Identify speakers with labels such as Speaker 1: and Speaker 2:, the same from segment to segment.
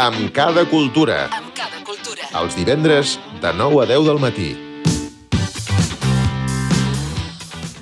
Speaker 1: Amb cada cultura.
Speaker 2: Amb cada cultura.
Speaker 1: Els divendres de 9 a 10 del matí.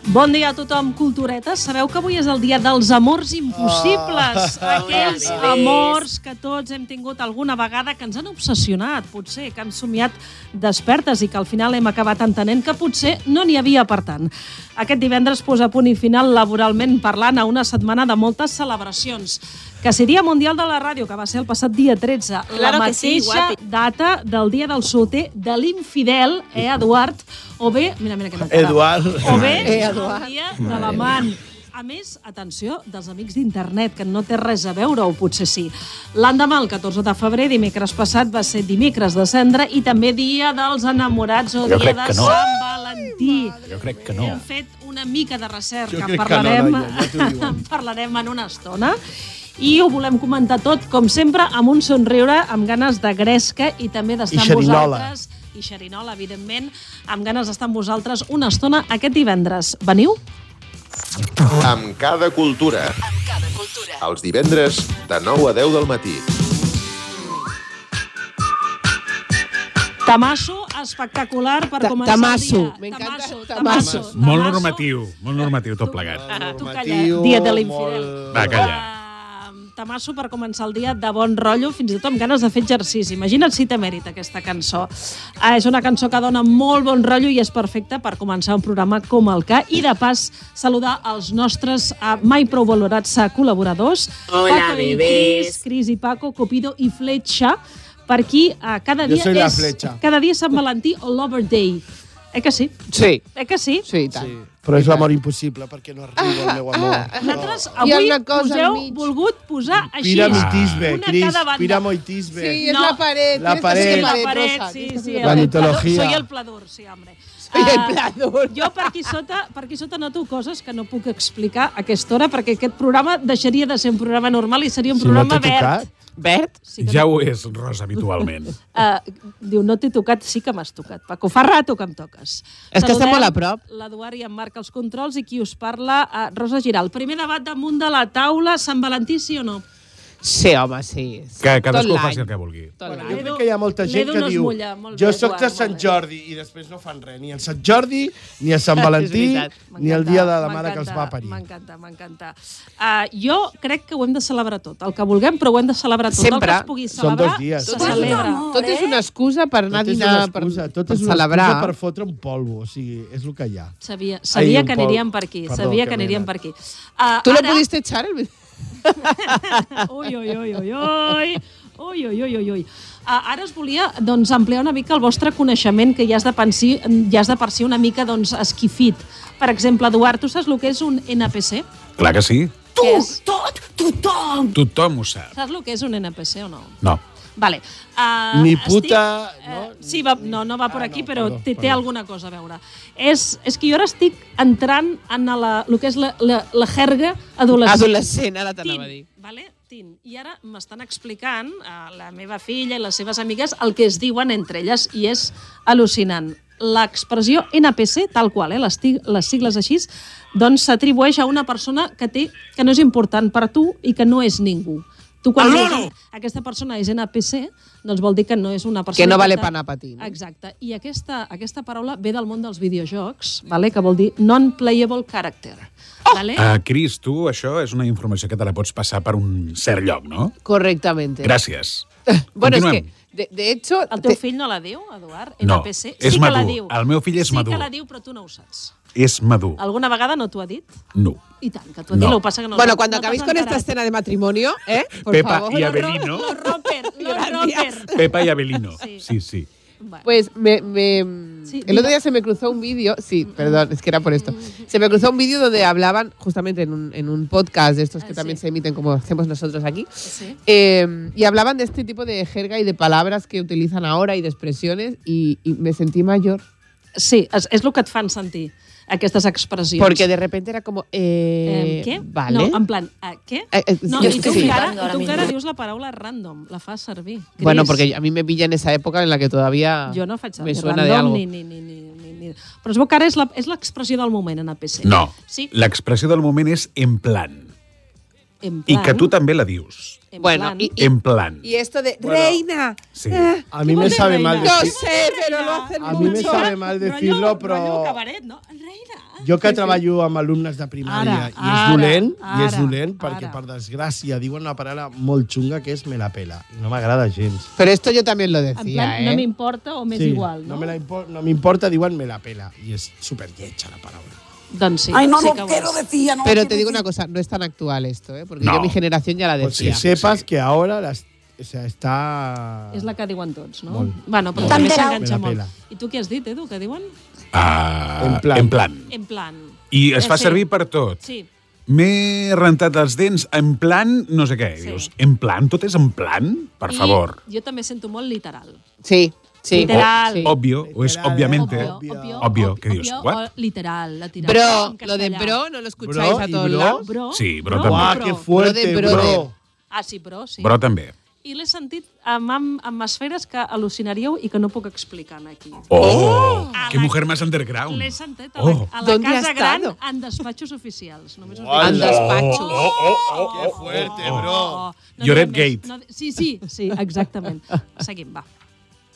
Speaker 3: Bon dia a tothom, culturetes. Sabeu que avui és el dia dels amors impossibles.
Speaker 2: Ah.
Speaker 3: Aquells
Speaker 2: Hola, bebès.
Speaker 3: amors que tots hem tingut alguna vegada que ens han obsessionat, potser, que han somiat despertes i que al final hem acabat entenent que potser no n'hi havia per tant. Aquest divendres posa punt i final laboralment parlant a una setmana de moltes celebracions. Que si Dia Mundial de la Ràdio, que va ser el passat dia 13,
Speaker 4: Claro
Speaker 3: la
Speaker 4: que sí,
Speaker 3: mateixa
Speaker 4: guapi.
Speaker 3: data del dia del solter de l'infidel, eh, Eduard? O bé... Mira, mira que m'encara.
Speaker 5: Eduard.
Speaker 3: O bé,
Speaker 6: Eh,
Speaker 3: el
Speaker 6: Eduard.
Speaker 3: dia de l'amant. A més, atenció, dels amics d'internet, que no té res a veure, o potser sí. L'endemà, el 14 de febrer, dimecres passat, va ser dimecres de cendre i també dia dels enamorats o
Speaker 5: Jo
Speaker 3: dia
Speaker 5: crec
Speaker 3: de
Speaker 5: que no.
Speaker 3: Sant Valentí.
Speaker 5: Jo crec que
Speaker 3: Hem fet una mica de recerca.
Speaker 5: Jo crec que no,
Speaker 3: parlarem,
Speaker 5: Laia, ja t'ho diuen.
Speaker 3: en parlarem en una estona. I ho volem comentar tot, com sempre, amb un somriure, amb ganes de gresca i també d'estar
Speaker 5: I
Speaker 3: amb
Speaker 5: xerinola.
Speaker 3: vosaltres. I xerinola, evidentment, amb ganes d'estar amb vosaltres una estona aquest divendres. Veniu?
Speaker 1: Amb cada cultura.
Speaker 2: Amb cada cultura.
Speaker 1: Els divendres de 9 a 10 del matí.
Speaker 3: Tamasso espectacular per
Speaker 6: Ta-
Speaker 3: començar
Speaker 6: tamasso.
Speaker 3: el dia.
Speaker 6: M'encanta
Speaker 3: Tamasso,
Speaker 6: tamasso.
Speaker 3: tamasso.
Speaker 7: Molt
Speaker 3: tamasso.
Speaker 7: normatiu, molt normatiu tot plegat.
Speaker 3: Ah, tu calla,
Speaker 5: Normatiu,
Speaker 3: dia de l'infidel.
Speaker 5: molt-
Speaker 7: Va, calla.
Speaker 3: Ah, Tamasso per començar el dia de bon rotllo, fins i tot amb ganes de fer exercici. Imagina't si té mèrit aquesta cançó. Ah, és una cançó que dona molt bon rotllo i és perfecta per començar un programa com el que. I de pas saludar els nostres ah, mai prou valorats ah, col·laboradors.
Speaker 4: Hola,
Speaker 3: i
Speaker 4: bebès.
Speaker 3: Cris, Cris i Paco, Cupido i Fletxa, per qui ah, cada
Speaker 5: Jo
Speaker 3: dia
Speaker 5: soy la
Speaker 3: és
Speaker 5: Fletxa.
Speaker 3: cada dia és Sant Valentí o Lover Day. Eh que sí?
Speaker 6: Sí,
Speaker 3: Eh que sí?
Speaker 6: sí, i tant.
Speaker 5: Però és l'amor impossible, perquè no arriba el meu
Speaker 3: Ah,
Speaker 5: amor.
Speaker 3: Nosaltres
Speaker 6: Hi ha
Speaker 3: avui
Speaker 6: una cosa
Speaker 3: us heu
Speaker 6: enmig.
Speaker 3: volgut posar així.
Speaker 5: Piramitisme,
Speaker 3: Una
Speaker 5: Cris,
Speaker 3: cada banda.
Speaker 6: Sí,
Speaker 5: piramitisme.
Speaker 6: és
Speaker 3: No.
Speaker 6: la paret.
Speaker 5: La
Speaker 6: tienes que
Speaker 5: pared.
Speaker 6: ser
Speaker 3: la
Speaker 6: paredrosa,
Speaker 3: paret, sí,
Speaker 6: tienes que
Speaker 3: sí.
Speaker 6: ser
Speaker 3: el-
Speaker 5: La
Speaker 3: el-
Speaker 6: pared.
Speaker 5: mitología.
Speaker 3: Soy el pladur, sí, hombre.
Speaker 6: Soy el
Speaker 3: Ah,
Speaker 6: pladur.
Speaker 3: jo per aquí, sota, per aquí sota noto coses que no puc explicar a aquesta hora, perquè aquest programa deixaria de ser un programa normal i seria un programa verd.
Speaker 6: Verd?
Speaker 3: Sí que
Speaker 7: Ja ho és, Rosa, habitualment.
Speaker 3: Uh, diu, no t'he tocat, sí que m'has tocat, Paco. Fa rato que em toques.
Speaker 6: És que estem molt a prop.
Speaker 3: L'Eduard i en Marc els controls i qui us parla, uh, Rosa Giral. Primer debat damunt de la taula, Sant Valentí sí o no?
Speaker 6: Sí, home, sí.
Speaker 7: Que
Speaker 6: Tot
Speaker 7: cadascú
Speaker 6: l'any.
Speaker 7: faci el que vulgui.
Speaker 6: Tot
Speaker 5: Bueno,
Speaker 6: l'any.
Speaker 5: jo crec que hi ha molta
Speaker 3: L'Edu-
Speaker 5: gent
Speaker 3: l'Edu
Speaker 5: que
Speaker 3: no es
Speaker 5: diu
Speaker 3: mulla, molt
Speaker 5: jo
Speaker 3: bé,
Speaker 5: sóc de
Speaker 3: Eduard,
Speaker 5: Sant
Speaker 3: molt bé."
Speaker 5: Jordi i després no fan res, ni el Sant Jordi, ni a Sant Valentí,
Speaker 6: veritat.
Speaker 5: ni el
Speaker 3: M'encanta,
Speaker 5: dia de la mare que els va
Speaker 3: m'encanta,
Speaker 5: parir.
Speaker 3: M'encanta, m'encanta. Uh, jo crec que ho hem de celebrar tot, el que vulguem, però ho hem de celebrar tot. El
Speaker 6: Sempre.
Speaker 3: que es pugui
Speaker 5: Són
Speaker 3: celebrar,
Speaker 5: dos dies.
Speaker 3: se
Speaker 5: Tot és un
Speaker 3: celebra.
Speaker 2: amor.
Speaker 6: Tot és una excusa per anar
Speaker 5: Tot
Speaker 6: a
Speaker 5: és
Speaker 6: dinar,
Speaker 5: una excusa,
Speaker 6: per,
Speaker 5: tot
Speaker 6: per
Speaker 5: és una
Speaker 6: celebrar.
Speaker 5: excusa per fotre un polvo, o sigui, és el que hi ha.
Speaker 3: Sabia, sabia
Speaker 5: un
Speaker 3: que
Speaker 5: pol-
Speaker 3: aniríem per aquí,
Speaker 5: Perdó,
Speaker 3: sabia
Speaker 5: que
Speaker 3: que aniríem per
Speaker 5: m'he
Speaker 3: aquí. Uh,
Speaker 6: Tu la pudiste echar? El...
Speaker 3: Ui, ui, ui, ui, ui. Ui, ui, ui, ui, ui. Ah, ara us volia doncs, ampliar una mica el vostre coneixement, que ja has de, pensir, ja has de per si una mica doncs, esquifit. Per exemple, Eduard, tu saps el que és un NPC?
Speaker 7: Clar que sí.
Speaker 3: Tu! Què és?
Speaker 2: Tot, tothom.
Speaker 7: Tothom ho sap.
Speaker 3: Saps el que és un NPC o no?
Speaker 7: No.
Speaker 3: Vale. Uh,
Speaker 5: Ni puta,
Speaker 3: No?
Speaker 5: no?
Speaker 3: sí, va, no, no va per
Speaker 5: Ah,
Speaker 3: aquí,
Speaker 5: no,
Speaker 3: però
Speaker 5: perdó,
Speaker 3: té, té
Speaker 5: perdó.
Speaker 3: alguna cosa a veure. És, és que jo ara estic entrant en la, el que és la, la, la jerga adolescent.
Speaker 6: Adolescent, ara t'anava a dir.
Speaker 3: Tin, vale? Tin. I ara m'estan explicant a la meva filla i les seves amigues el que es diuen entre elles i és al·lucinant. L'expressió NPC, tal qual, eh, les, ti- les sigles així, doncs s'atribueix a una persona que té que no és important per tu i que no és ningú. Tu quan dius, aquesta persona és NPC, doncs vol dir que no és una persona...
Speaker 6: Que no vale
Speaker 3: t'ha-
Speaker 6: per anar patint. eh?
Speaker 3: Exacte. I aquesta, aquesta paraula ve del món dels videojocs, vale? que vol dir non-playable character. Oh! Vale?
Speaker 7: Uh, Cris, tu això és una informació que te la pots passar per un cert lloc, no?
Speaker 6: Correctamente.
Speaker 7: Gràcies.
Speaker 6: Bueno, es que,
Speaker 7: Continuem.
Speaker 6: de, de hecho...
Speaker 3: El teu
Speaker 6: te-
Speaker 3: fill no la diu, Eduard?
Speaker 7: No,
Speaker 3: NPC?
Speaker 7: és
Speaker 3: sí que la
Speaker 7: madur.
Speaker 3: diu.
Speaker 7: El meu fill és
Speaker 3: sí
Speaker 7: madur.
Speaker 3: que la diu, però tu no ho saps.
Speaker 7: És madur.
Speaker 3: Alguna vegada no t'ho ha dit?
Speaker 7: No.
Speaker 3: I tant, que t'ho ha dit,
Speaker 7: No.
Speaker 3: no. passa que no
Speaker 6: Bueno,
Speaker 3: no
Speaker 6: cuando
Speaker 3: t'has
Speaker 6: acabéis con esta
Speaker 3: enterat.
Speaker 6: escena de matrimonio, ¿eh? Por
Speaker 7: Pepa
Speaker 6: favor.
Speaker 7: y Abelino.
Speaker 3: Los romper, los
Speaker 6: Gracias.
Speaker 3: romper.
Speaker 7: Pepa i Abelino.
Speaker 3: Sí.
Speaker 7: Sí, sí.
Speaker 3: Bueno,
Speaker 6: Pues me, me-
Speaker 3: Sí,
Speaker 6: el
Speaker 3: diga.
Speaker 6: otro día se me cruzó un vídeo, sí, perdón, es que era por esto. Se me cruzó un vídeo donde hablaban justamente en un, en un podcast de estos
Speaker 3: Ah,
Speaker 6: que
Speaker 3: sí.
Speaker 6: también se emiten como hacemos nosotros aquí,
Speaker 3: sí.
Speaker 6: eh, y hablaban de este tipo de jerga y de palabras que utilizan ahora y de expresiones y, y me sentí mayor
Speaker 3: sí, és, és el que et fan sentir, aquestes expressions.
Speaker 6: porque de repente era como
Speaker 3: Eh,
Speaker 6: eh,
Speaker 3: què?
Speaker 6: vale.
Speaker 3: No, en plan, eh, què?
Speaker 6: Eh, eh,
Speaker 3: No,
Speaker 6: sí,
Speaker 3: i tu,
Speaker 6: sí.
Speaker 3: que ara,
Speaker 2: Ahora
Speaker 3: i tu que
Speaker 2: mismo.
Speaker 3: ara dius la paraula random, la fas servir. Cris.
Speaker 6: Bueno, porque a mí me pilla en esa época en la que todavía
Speaker 3: Jo no faig
Speaker 6: me
Speaker 3: servir
Speaker 6: suena de
Speaker 3: random
Speaker 6: algo.
Speaker 3: ni, ni, ni, ni, ni, ni. Però es veu que ara és la- és l'expressió del moment en APC.
Speaker 7: No.
Speaker 3: Sí?
Speaker 7: L'expressió del moment és en plan.
Speaker 3: En plan,
Speaker 7: I que tu també la dius.
Speaker 3: En
Speaker 6: Bueno,
Speaker 3: plan.
Speaker 6: y-
Speaker 7: En plan.
Speaker 4: Y esto de
Speaker 5: Bueno.
Speaker 4: reina.
Speaker 7: Sí.
Speaker 4: Ah,
Speaker 5: A mi me
Speaker 3: Molt bé,
Speaker 5: sabe mal
Speaker 3: reina.
Speaker 4: no
Speaker 5: decir...
Speaker 4: sé, pero lo hacen
Speaker 5: A
Speaker 4: mucho.
Speaker 5: mi me sabe mal decirlo,
Speaker 3: Rotllo
Speaker 5: però...
Speaker 3: cabaret, no? Reina.
Speaker 5: Jo que treballo amb alumnes de primària
Speaker 3: Ara,
Speaker 5: i és
Speaker 3: ara,
Speaker 5: dolent, i és
Speaker 3: ara,
Speaker 5: dolent perquè
Speaker 3: ara.
Speaker 5: per desgràcia diuen una paraula molt xunga que és me la pela i no m'agrada gens.
Speaker 6: Pero esto yo también lo decía,
Speaker 3: En plan,
Speaker 6: ¿eh?
Speaker 3: no m'importa o m'és igual, no?
Speaker 5: No me la impo- no m'importa, diuen me la pela i és super lletja la paraula.
Speaker 3: Doncs sí,
Speaker 2: Ay, no
Speaker 3: sí
Speaker 2: lo
Speaker 3: que ho
Speaker 2: quiero
Speaker 3: és.
Speaker 2: decir, no
Speaker 6: Pero te digo una cosa, no es tan actual esto, ¿eh? Porque
Speaker 7: No.
Speaker 6: yo mi generación ya la
Speaker 5: Pues si
Speaker 6: decía.
Speaker 5: sepas que ahora las, o sea, está...
Speaker 3: És la que diuen tots, no?
Speaker 5: Molt.
Speaker 3: Bueno, però
Speaker 5: Molt.
Speaker 3: també
Speaker 2: Me la
Speaker 3: s'enganxa molt.
Speaker 5: pela.
Speaker 3: I tu què has dit, Edu, que diuen?
Speaker 7: Ah,
Speaker 5: En plan.
Speaker 7: En plan.
Speaker 3: En plan.
Speaker 7: I es
Speaker 3: Eh,
Speaker 7: fa
Speaker 3: sí.
Speaker 7: servir per tot.
Speaker 3: Sí,
Speaker 7: M'he rentat els dents en plan no sé què.
Speaker 3: Sí.
Speaker 7: Dius, en plan? Tot és en plan? Per favor.
Speaker 3: I jo també sento molt literal.
Speaker 6: Sí, sí.
Speaker 3: Literal.
Speaker 6: sí.
Speaker 7: Obvio, o és
Speaker 5: Literal,
Speaker 7: òbviamente.
Speaker 5: eh? Obvio.
Speaker 7: Obvio, que dius,
Speaker 3: obvio,
Speaker 7: what?
Speaker 3: o literal, la tirada.
Speaker 6: Bro,
Speaker 3: en
Speaker 6: lo de
Speaker 3: castellà.
Speaker 6: bro no lo escucháis
Speaker 5: Bro
Speaker 6: a
Speaker 5: y
Speaker 6: todos
Speaker 5: bro.
Speaker 6: lados.
Speaker 3: Bro?
Speaker 7: Sí, bro també.
Speaker 5: Uah, que fuerte,
Speaker 6: Brother,
Speaker 5: bro.
Speaker 6: brother.
Speaker 3: Ah, sí, bro, sí.
Speaker 7: Però també.
Speaker 3: I l'he sentit amb, amb, amb esferes que al·lucinaríeu i que no puc explicar aquí.
Speaker 7: Oh,
Speaker 3: A
Speaker 7: que
Speaker 3: la-
Speaker 7: mujer más underground.
Speaker 3: L'he sentit a la,
Speaker 7: Oh,
Speaker 3: a la
Speaker 6: ¿Dónde
Speaker 3: Casa
Speaker 6: ha
Speaker 3: Gran
Speaker 6: estado?
Speaker 3: en despatxos oficials. Només us dic.
Speaker 5: Hola.
Speaker 6: Al despacho.
Speaker 3: Ah,
Speaker 5: Qué fuerte,
Speaker 3: Oh, no
Speaker 7: Lloret
Speaker 3: diguem
Speaker 7: Gate.
Speaker 3: més, No, sí, sí, sí, exactament. Seguim, va.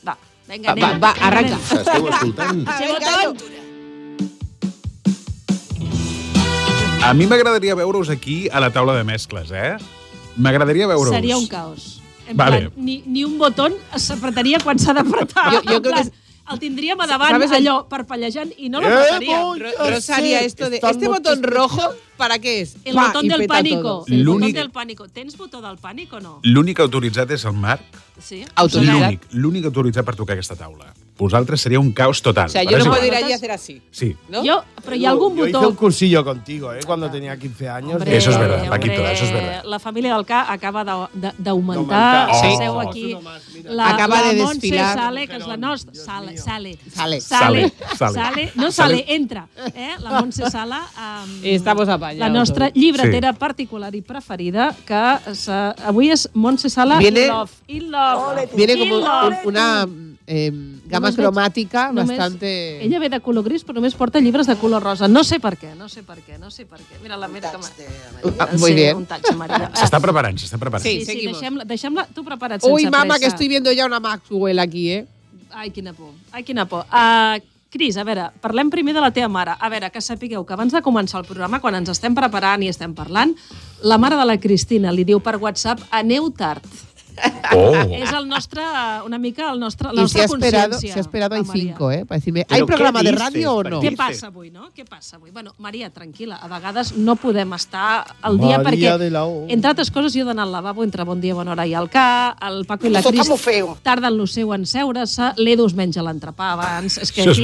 Speaker 3: Va, vinga,
Speaker 6: Va,
Speaker 3: anem.
Speaker 6: va, arranca.
Speaker 3: Anem.
Speaker 1: Esteu escoltant
Speaker 6: Ah,
Speaker 7: A mi m'agradaria veure-us aquí a la taula de mescles, eh? M'agradaria veure-us.
Speaker 3: Seria un caos. En
Speaker 7: Vale.
Speaker 3: plan, ni, ni un botó s'apretaria quan s'ha d'apretar.
Speaker 6: Jo- jo
Speaker 3: En
Speaker 6: crec que
Speaker 3: plan, El tindríem a davant,
Speaker 6: Sabes
Speaker 3: Sabes,
Speaker 6: el-
Speaker 3: allò, parpellejant, i
Speaker 7: Eh,
Speaker 3: no l'apretaríem.
Speaker 5: Eh, voy
Speaker 6: Ro-
Speaker 5: a
Speaker 6: Rosaria,
Speaker 5: hacer-
Speaker 6: esto de
Speaker 5: están
Speaker 6: este botón
Speaker 5: muchos-
Speaker 6: rojo, ¿para qué es?
Speaker 3: El
Speaker 6: Pa,
Speaker 3: botón
Speaker 6: y
Speaker 3: del
Speaker 6: peta
Speaker 3: pánico.
Speaker 6: todo.
Speaker 3: El botón
Speaker 7: L'únic-
Speaker 3: del pánico. Tens botó del pànic o no?
Speaker 7: L'únic autoritzat és el Marc.
Speaker 3: Sí.
Speaker 6: Autoritzat.
Speaker 7: L'únic, l'únic autoritzat per tocar aquesta taula. Vosaltres seria un caos total.
Speaker 6: O sea,
Speaker 7: però
Speaker 6: yo no
Speaker 7: és
Speaker 6: puedo
Speaker 7: igual.
Speaker 6: ir allí a hacer así,
Speaker 7: Sí,
Speaker 6: ¿no?
Speaker 3: Jo, però hi ha algun
Speaker 5: Yo hice un
Speaker 3: botó...
Speaker 5: cursillo contigo, ¿eh? Cuando tenía 15 años.
Speaker 3: Hombre,
Speaker 7: Eso es verdad,
Speaker 3: hombre,
Speaker 7: Paquito, eso es verdad.
Speaker 3: La família del K acaba d'au- de- d'augmentar.
Speaker 5: D'augmentar.
Speaker 7: Sí.
Speaker 3: Seu
Speaker 7: Oh.
Speaker 3: aquí.
Speaker 6: Acaba de
Speaker 3: Montse
Speaker 6: desfilar.
Speaker 3: Sale, que és la nostra. Sale, sale. Sale,
Speaker 6: Sale.
Speaker 7: Sale.
Speaker 3: sale. No
Speaker 7: Sale.
Speaker 3: sale, entra. Eh? La Montse Sala, um,
Speaker 6: Estamos apañados.
Speaker 3: la nostra llibretera sí. particular i preferida, que se, avui és Montse Sala
Speaker 6: Viene-
Speaker 3: in love. In love.
Speaker 6: Viene
Speaker 3: in
Speaker 6: como un-
Speaker 3: love.
Speaker 6: una eh, gama
Speaker 3: Només veig-
Speaker 6: cromática
Speaker 3: només-
Speaker 6: bastante.
Speaker 3: Ella ve de color gris, però només porta llibres de color rosa. No sé per què, no sé per què, no sé per què. Mira la mira que m'ha-
Speaker 6: Ah, muy
Speaker 3: sí,
Speaker 6: bien.
Speaker 3: un taig, Maria.
Speaker 7: s'està preparant, s'està preparant.
Speaker 3: Sí, sí,
Speaker 6: Seguimos.
Speaker 3: deixem-la, deixem-la tu prepara't sense
Speaker 6: Uy, mamá,
Speaker 3: pressa.
Speaker 6: que estoy viendo ya una Maxwell aquí, ¿eh?
Speaker 3: Ai, quina por. Ai, quina por. Uh, Cris, a veure, parlem primer de la teva mare. A veure, que sapigueu que abans de començar el programa, quan ens estem preparant i estem parlant, la mare de la Cristina li diu per WhatsApp aneu tard.
Speaker 7: Oh,
Speaker 3: És el nostre, una mica, el nostre, la
Speaker 6: Y se ha
Speaker 3: nostra
Speaker 6: esperado,
Speaker 3: consciència.
Speaker 6: se ha esperado hay
Speaker 3: la Maria.
Speaker 6: cinco, ¿eh? Para decirme,
Speaker 7: ¿Pero
Speaker 6: ¿hay
Speaker 7: qué
Speaker 6: programa de
Speaker 7: dices,
Speaker 6: radio o no?
Speaker 3: Què
Speaker 7: Dice.
Speaker 3: passa avui, no? Què passa avui? Bueno, Maria, tranquil·la, a vegades no podem estar al dia
Speaker 5: Maria de
Speaker 3: perquè,
Speaker 5: la O.
Speaker 3: entre altres coses, jo he d'anar al lavabo entre Bon Dia, Bona Hora i el Ca, el Paco i la Cris tarden lo seu en seure-se, l'Edu es menja l'entrepà abans, és que
Speaker 7: Això és
Speaker 3: aquí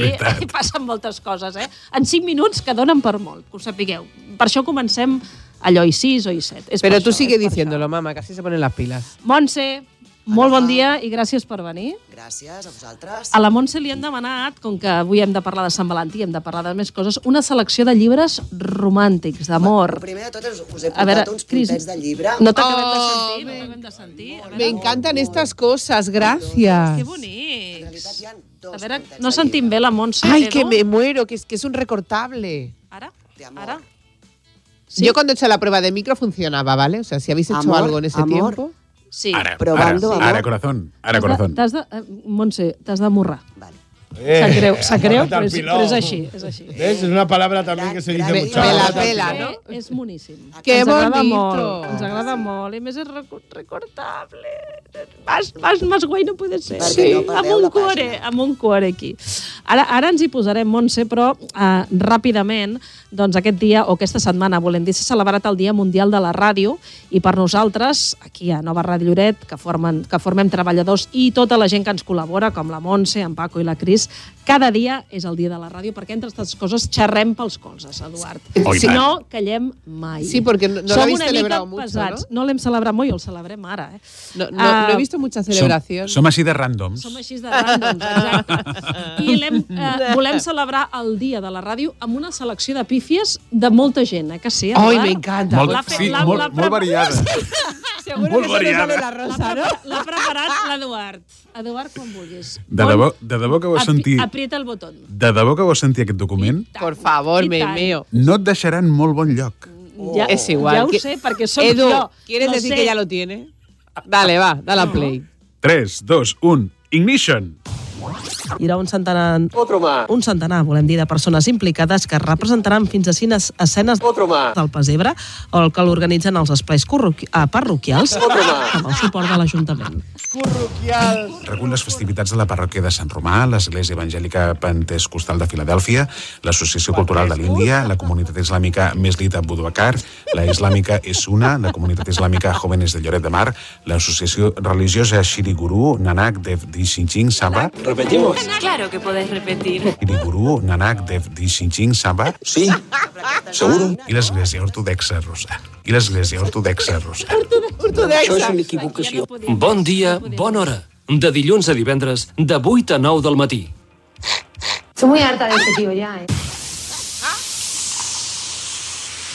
Speaker 7: veritat.
Speaker 3: passen moltes coses, eh? En cinc minuts que donen per molt, que ho sapigueu. Per això comencem allò i sis o i set. És
Speaker 6: Pero
Speaker 3: per
Speaker 6: tú
Speaker 3: això,
Speaker 6: sigue
Speaker 3: és per
Speaker 6: diciéndolo, mamá, que así se ponen las pilas.
Speaker 3: això. Montse, molt bon dia i gràcies per venir.
Speaker 2: Gràcies a vosaltres.
Speaker 3: A la Montse li hem demanat, com que avui hem de parlar de Sant Valentí, hem de parlar de més coses, una selecció de llibres romàntics, d'amor.
Speaker 2: Primer de tot us, us he
Speaker 3: A veure,
Speaker 2: portat uns
Speaker 3: Cris,
Speaker 2: puntets de llibre.
Speaker 3: No t'acabem de
Speaker 6: Oh,
Speaker 3: sentir, no t'acabem de sentir. A
Speaker 6: Me
Speaker 3: veure,
Speaker 6: encantan estas cosas, gracias.
Speaker 2: En
Speaker 3: que
Speaker 2: realitat
Speaker 3: bonics.
Speaker 2: hi ha dos
Speaker 3: A veure,
Speaker 2: puntets
Speaker 3: no
Speaker 2: de
Speaker 3: sentim
Speaker 2: llibre.
Speaker 3: bé la Montse,
Speaker 6: Ay,
Speaker 3: Edu?
Speaker 6: que me muero, que es que es un recortable.
Speaker 3: Ara?
Speaker 2: De amor.
Speaker 3: Ara?
Speaker 6: Yo cuando he hecho la prueba de micro funcionaba, ¿vale? O sea, si habéis hecho
Speaker 2: Amor,
Speaker 6: algo en ese
Speaker 2: amor.
Speaker 6: tiempo.
Speaker 3: Sí.
Speaker 7: ara,
Speaker 2: Probando,
Speaker 7: ara, ara,
Speaker 2: amor.
Speaker 7: corazón, ara,
Speaker 3: T'has de-
Speaker 7: corazón.
Speaker 3: T'has de... eh, Montse, t'has de morrar.
Speaker 2: Vale.
Speaker 5: Eh,
Speaker 3: Sap greu, sap greu,
Speaker 5: agarra't
Speaker 3: però
Speaker 5: el
Speaker 3: és,
Speaker 5: piló.
Speaker 3: però és així, és així.
Speaker 5: ¿Ves? Es una palabra también que se dice
Speaker 6: Me,
Speaker 5: mucho.
Speaker 6: me la
Speaker 5: Agarra't el
Speaker 6: pela,
Speaker 5: piló.
Speaker 6: ¿no?
Speaker 3: Eh, és moníssim.
Speaker 6: Que
Speaker 3: ens agrada
Speaker 6: bonito.
Speaker 3: molt, ens agrada molt, i més és recu- recortable. Vas, vas, vas guai, no puede ser.
Speaker 2: Perquè no perdeu
Speaker 3: amb un
Speaker 2: la
Speaker 3: cuore,
Speaker 2: pàgina.
Speaker 3: eh, amb un cuore aquí. Ara, ara ens hi posarem, Montse, però eh, ràpidament, doncs aquest dia o aquesta setmana, volem dir, s'ha celebrat el Dia Mundial de la Ràdio i per nosaltres, aquí a Nova Ràdio Lloret, que, formen, que formem treballadors i tota la gent que ens col·labora, com la Montse, en Paco i la Cris, cada dia és el dia de la ràdio perquè entre aquestes coses xerrem pels colzes, Eduard.
Speaker 7: Oh, i
Speaker 3: si
Speaker 7: tant.
Speaker 3: no, callem mai.
Speaker 6: Sí, porque no- no
Speaker 3: Som
Speaker 6: l'habéis
Speaker 3: una mica
Speaker 6: celebrado mucho,
Speaker 3: pesats. No l'hem celebrat molt i el celebrem ara, eh?
Speaker 6: No, no,
Speaker 3: Ah,
Speaker 6: no he visto mucha celebración.
Speaker 7: Som, som així de ràndoms.
Speaker 3: Som així de randoms, exacte. I l'hem, eh, volem celebrar el dia de la ràdio amb una selecció de pífies de molta gent, eh? Que sí,
Speaker 6: Ay,
Speaker 3: Eduard?
Speaker 6: me encanta.
Speaker 7: Molt,
Speaker 3: La fe-
Speaker 7: sí,
Speaker 3: la-
Speaker 7: molt,
Speaker 3: la-
Speaker 7: molt variades.
Speaker 6: Seguro
Speaker 7: Muy que solo variada. sale la
Speaker 6: rosa,
Speaker 3: L'ha preparat l'Eduard. Eduard, quan vulguis.
Speaker 7: De
Speaker 3: Pon-
Speaker 7: debò, de debò que vols
Speaker 3: api-
Speaker 7: sentir...
Speaker 3: Aprieta el botó.
Speaker 7: De debò que vols sentir aquest document?
Speaker 6: Por favor,
Speaker 3: I
Speaker 6: me
Speaker 3: tant.
Speaker 6: meo.
Speaker 7: No et deixarà en molt bon lloc.
Speaker 3: Ja,
Speaker 6: Es igual.
Speaker 3: Ja ho
Speaker 6: que-
Speaker 3: sé, perquè som
Speaker 6: Edu,
Speaker 3: jo.
Speaker 6: ¿quieres
Speaker 3: Lo
Speaker 6: decir
Speaker 3: sé.
Speaker 6: que ya lo tiene? Dale, va, dale a play.
Speaker 7: 3, 2, 1, ignition.
Speaker 4: Hi haurà un centenar, un centenar, volem dir, de persones implicades que representaran fins a cinc es- escenes del Pesebre o el que l'organitzen els espais corroqui- eh, parroquials amb el suport de l'Ajuntament.
Speaker 7: Recull les festivitats de la parròquia de Sant Romà, l'Església Evangèlica Pentecostal de Filadèlfia, l'Associació Cultural de l'Índia, la comunitat islàmica Meslita Buduacar, la islàmica Esuna, la comunitat islàmica Jóvenes de Lloret de Mar, l'Associació Religiosa Shiriguru, Nanak Dev Dishinching Samba,
Speaker 8: Claro que podés repetir.
Speaker 7: Shiriguru, Nanak Dev Dishinching Samba, sí, seguro, i l'Església Ortodoxa Russa. I l'Església Ortodoxa Russa.
Speaker 9: Això és una equivocació. Bon dia, bona hora. De dilluns a divendres, de 8 a 9 del matí.
Speaker 8: Soy muy harta de este tío ya, ¿eh?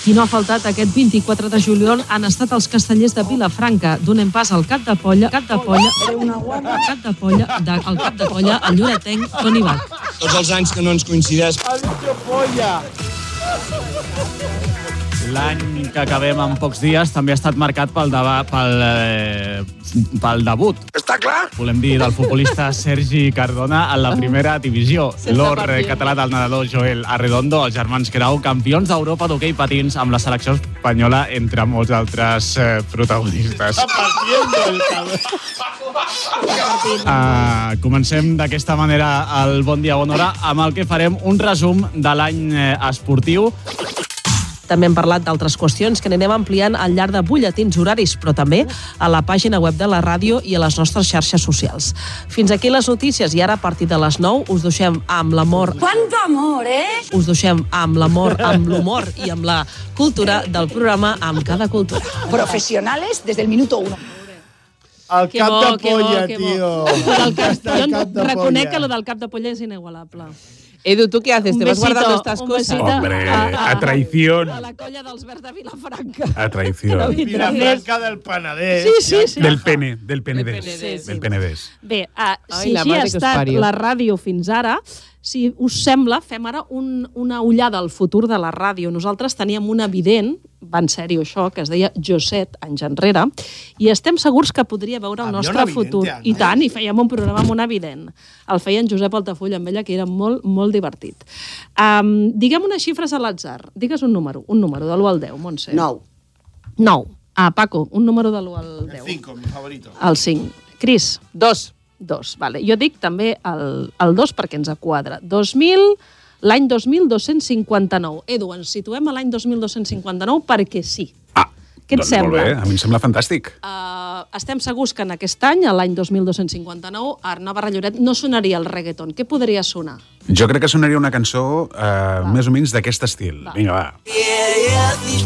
Speaker 3: Qui no ha faltat aquest 24 de juliol han estat els castellers de Vilafranca. Donem pas al cap de polla, cap de polla, cap de polla, de, al cap de polla, el lloretenc Toni Bach.
Speaker 9: Tots els anys que no ens coincideix.
Speaker 10: L'any que acabem en pocs dies també ha estat marcat pel, deba, pel, eh, pel debut. Està clar? Volem dir del futbolista Sergi Cardona en la
Speaker 4: Ah.
Speaker 10: primera divisió. L'or eh, català del nedador Joel Arredondo, els germans Grau, campions d'Europa d'hoquei patins amb la selecció espanyola, entre molts altres eh, protagonistes. Uh, comencem d'aquesta manera el Bon Dia Bon Hora amb el que farem un resum de l'any eh, esportiu
Speaker 4: També hem parlat d'altres qüestions que anirem ampliant al llarg de butlletins horaris, però també a la pàgina web de la ràdio i a les nostres xarxes socials. Fins aquí les notícies i ara a partir de les 9 us deixem amb l'amor
Speaker 8: ¡Cuánto amor, eh!
Speaker 4: us deixem amb l'amor, amb l'humor i amb la cultura del programa amb cada cultura.
Speaker 2: Profesionales desde el minuto uno.
Speaker 5: El
Speaker 3: Que
Speaker 5: cap
Speaker 3: bo,
Speaker 5: de
Speaker 3: que bo,
Speaker 5: polla,
Speaker 3: que bo.
Speaker 5: tio.
Speaker 3: Però el cap,
Speaker 5: Està el
Speaker 3: jo
Speaker 5: cap de
Speaker 3: reconec
Speaker 5: polla.
Speaker 3: que lo del cap de polla és inigualable.
Speaker 6: Edu, ¿tú qué haces?
Speaker 3: Un
Speaker 6: ¿Te vas
Speaker 3: besito,
Speaker 6: guardando estas
Speaker 3: un
Speaker 6: cosas? Oh.
Speaker 3: besito.
Speaker 7: Hombre,
Speaker 3: Ah, ah,
Speaker 7: a traición,
Speaker 3: A la colla dels verds de Vilafranca.
Speaker 7: a traición.
Speaker 5: Mira, fresca del Penedès.
Speaker 3: Sí, sí, sí.
Speaker 7: Del pene, del Penedès.
Speaker 3: Penedès.
Speaker 7: Del Penedès.
Speaker 3: Bé, uh,
Speaker 6: Ai,
Speaker 3: si
Speaker 6: la
Speaker 3: així
Speaker 6: mare
Speaker 3: ha
Speaker 6: que us
Speaker 3: estat
Speaker 6: pariu.
Speaker 3: la ràdio fins ara, si us sembla, fem ara un, una ullada al futur de la ràdio. Nosaltres teníem un evident, va en sèrio això, que es deia Joset, anys enrere, i estem segurs que podria veure el
Speaker 5: Havia
Speaker 3: nostre
Speaker 5: un evidente
Speaker 3: futur.
Speaker 5: antes.
Speaker 3: I tant, i fèiem un programa amb un evident. El feia en Josep Altafulla amb ella, que era molt, molt divertit. Um, diguem unes xifres a l'atzar. Digues un número, un número, de l'1 al 10, Montse.
Speaker 2: 9.
Speaker 3: 9. Ah, Paco, un número de l'1 al 10.
Speaker 5: Cinco, mi favorito.
Speaker 3: El 5. Cris.
Speaker 6: Dos.
Speaker 3: Dos, vale. Jo dic també el, el dos perquè ens quadra. 2000, l'any 2259. Edu, ens situem a l'any 2259 perquè sí.
Speaker 7: Ah,
Speaker 3: Què et
Speaker 7: doncs molt
Speaker 3: sembla?
Speaker 7: bé, a mi em sembla fantàstic.
Speaker 3: Uh, estem segurs que en aquest any, a l'any 2259, a Arnau Barralloret no sonaria el reggaeton. Què podria sonar?
Speaker 7: Jo crec que sonaria una cançó eh, més o menys d'aquest estil. Va. Vinga, va.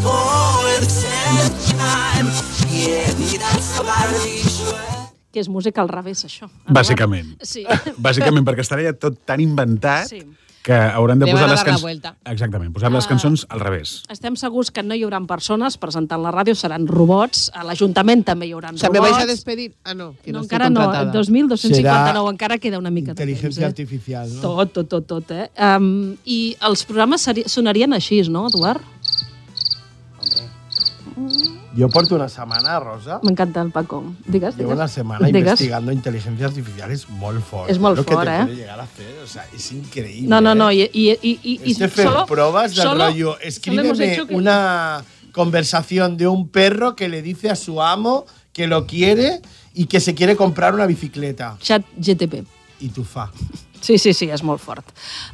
Speaker 3: Que és música al revés, això.
Speaker 7: Bàsicament.
Speaker 3: Sí.
Speaker 7: Bàsicament, perquè estarà ja tot tan inventat
Speaker 3: Sí.
Speaker 7: sí. que hauran de
Speaker 6: Le
Speaker 7: posar
Speaker 6: van a
Speaker 7: les
Speaker 6: dar la
Speaker 7: cançons...
Speaker 6: vuelta.
Speaker 7: Exactament, posar
Speaker 3: Ah.
Speaker 7: les cançons al revés.
Speaker 3: Estem segurs que no hi haurà persones presentant la ràdio, seran robots, a l'Ajuntament també hi haurà
Speaker 6: O
Speaker 3: robots.
Speaker 6: sea, ¿me vais a despedir? Ah, no. Que
Speaker 3: No,
Speaker 6: no, estoy
Speaker 3: encara no, eh? el
Speaker 6: contratada.
Speaker 3: 2259 encara queda una mica de temps. eh?
Speaker 5: Intel·ligència artificial, no?
Speaker 3: Tot, tot, tot, tot, eh? Um, I els programes seri- sonarien així, no, Eduard?
Speaker 5: Jo porto una setmana, Rosa,
Speaker 3: M'encanta el Paco. Digues,
Speaker 5: Llevo una
Speaker 3: digues.
Speaker 5: semana
Speaker 3: Digues.
Speaker 5: investigando inteligencia artificial, es muy fuerte.
Speaker 3: Es muy
Speaker 5: Lo que te
Speaker 3: fuerte, ¿eh?
Speaker 5: puede llegar a hacer, o sea, es increíble.
Speaker 3: No, no, no,
Speaker 5: ¿eh?
Speaker 3: i, i, i, i, i
Speaker 5: Este fer pruebas del rollo, escríbeme una conversación de un perro que le dice a su amo que lo quiere y que se quiere comprar una bicicleta.
Speaker 3: Chat GTP.
Speaker 5: Y tu fa.
Speaker 3: Sí, sí, sí, és molt fort.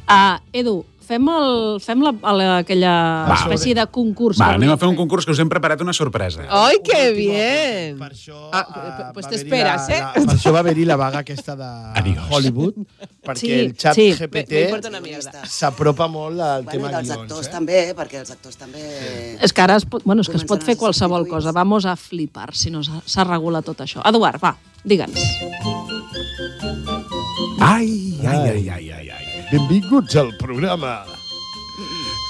Speaker 3: Uh, Edu, fem, el, fem la, la, aquella
Speaker 7: Va.
Speaker 3: espècie de concurs.
Speaker 7: Va,
Speaker 3: que
Speaker 7: anem a fer un
Speaker 3: volíem
Speaker 7: concurs que us hem preparat una sorpresa.
Speaker 3: Oh!
Speaker 6: ¡Ay, qué
Speaker 5: Último,
Speaker 6: bien!
Speaker 5: per això,
Speaker 6: Ah,
Speaker 5: eh,
Speaker 6: pues
Speaker 5: va
Speaker 6: te
Speaker 5: venir
Speaker 6: esperas,
Speaker 5: la-
Speaker 6: eh?
Speaker 5: la- Per això va venir la vaga aquesta de
Speaker 7: Adiós.
Speaker 5: Hollywood, perquè
Speaker 3: Sí,
Speaker 5: el xat
Speaker 3: sí.
Speaker 6: Me, me
Speaker 5: GPT
Speaker 6: importa una mierda.
Speaker 5: s'apropa molt al
Speaker 2: Bueno,
Speaker 5: tema
Speaker 2: i dels
Speaker 5: guions,
Speaker 2: actors
Speaker 5: eh?
Speaker 2: també, perquè els actors també...
Speaker 3: És que ara es pot, bueno, és que es pot
Speaker 2: Comencen
Speaker 3: fer
Speaker 2: els
Speaker 3: qualsevol
Speaker 2: substituïts.
Speaker 3: cosa. Vamos a flipar si no s'ha- s'ha regulat tot això. Eduard, va, digue'ns.
Speaker 7: Ai, ai, ai, ai, ai, ai.
Speaker 5: Benvinguts al programa.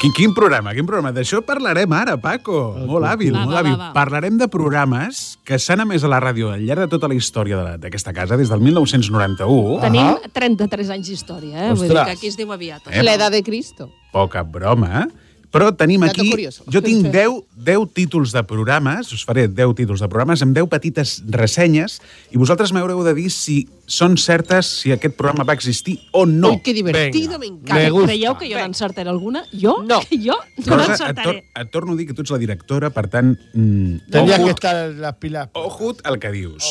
Speaker 7: Quin, quin programa, quin programa? D'això parlarem ara, Ah, Paco. Molt hàbil,
Speaker 3: Va, va,
Speaker 7: molt hàbil.
Speaker 3: va, va.
Speaker 7: Parlarem de programes que s'han emès a la ràdio al llarg de tota la història de la- d'aquesta casa, des del 1991.
Speaker 3: Tenim 33 anys d'història, eh? Vull dir
Speaker 5: Ah. Ostres.
Speaker 3: que aquí es diu aviat.
Speaker 7: Eh,
Speaker 6: La edad de Cristo.
Speaker 7: Poca broma. Però tenim
Speaker 6: Dato
Speaker 7: aquí...
Speaker 6: curioso.
Speaker 7: Jo tinc 10, 10 títols de programes, us faré 10 títols de programes, amb 10 petites ressenyes, i vosaltres m'haureu de dir si són certes, si aquest programa va existir o no.
Speaker 3: Ui, que divertido, m'encanta. Creieu que jo n'encertaré alguna? Jo? No. Jo no
Speaker 7: Rosa, Doncs et, tor
Speaker 3: n'encertaré.
Speaker 7: et torno a dir que tu ets la directora, per tant... Mm,
Speaker 5: Tendrías que
Speaker 7: ojo,
Speaker 5: estar en las pilas.
Speaker 7: Ojut el que dius.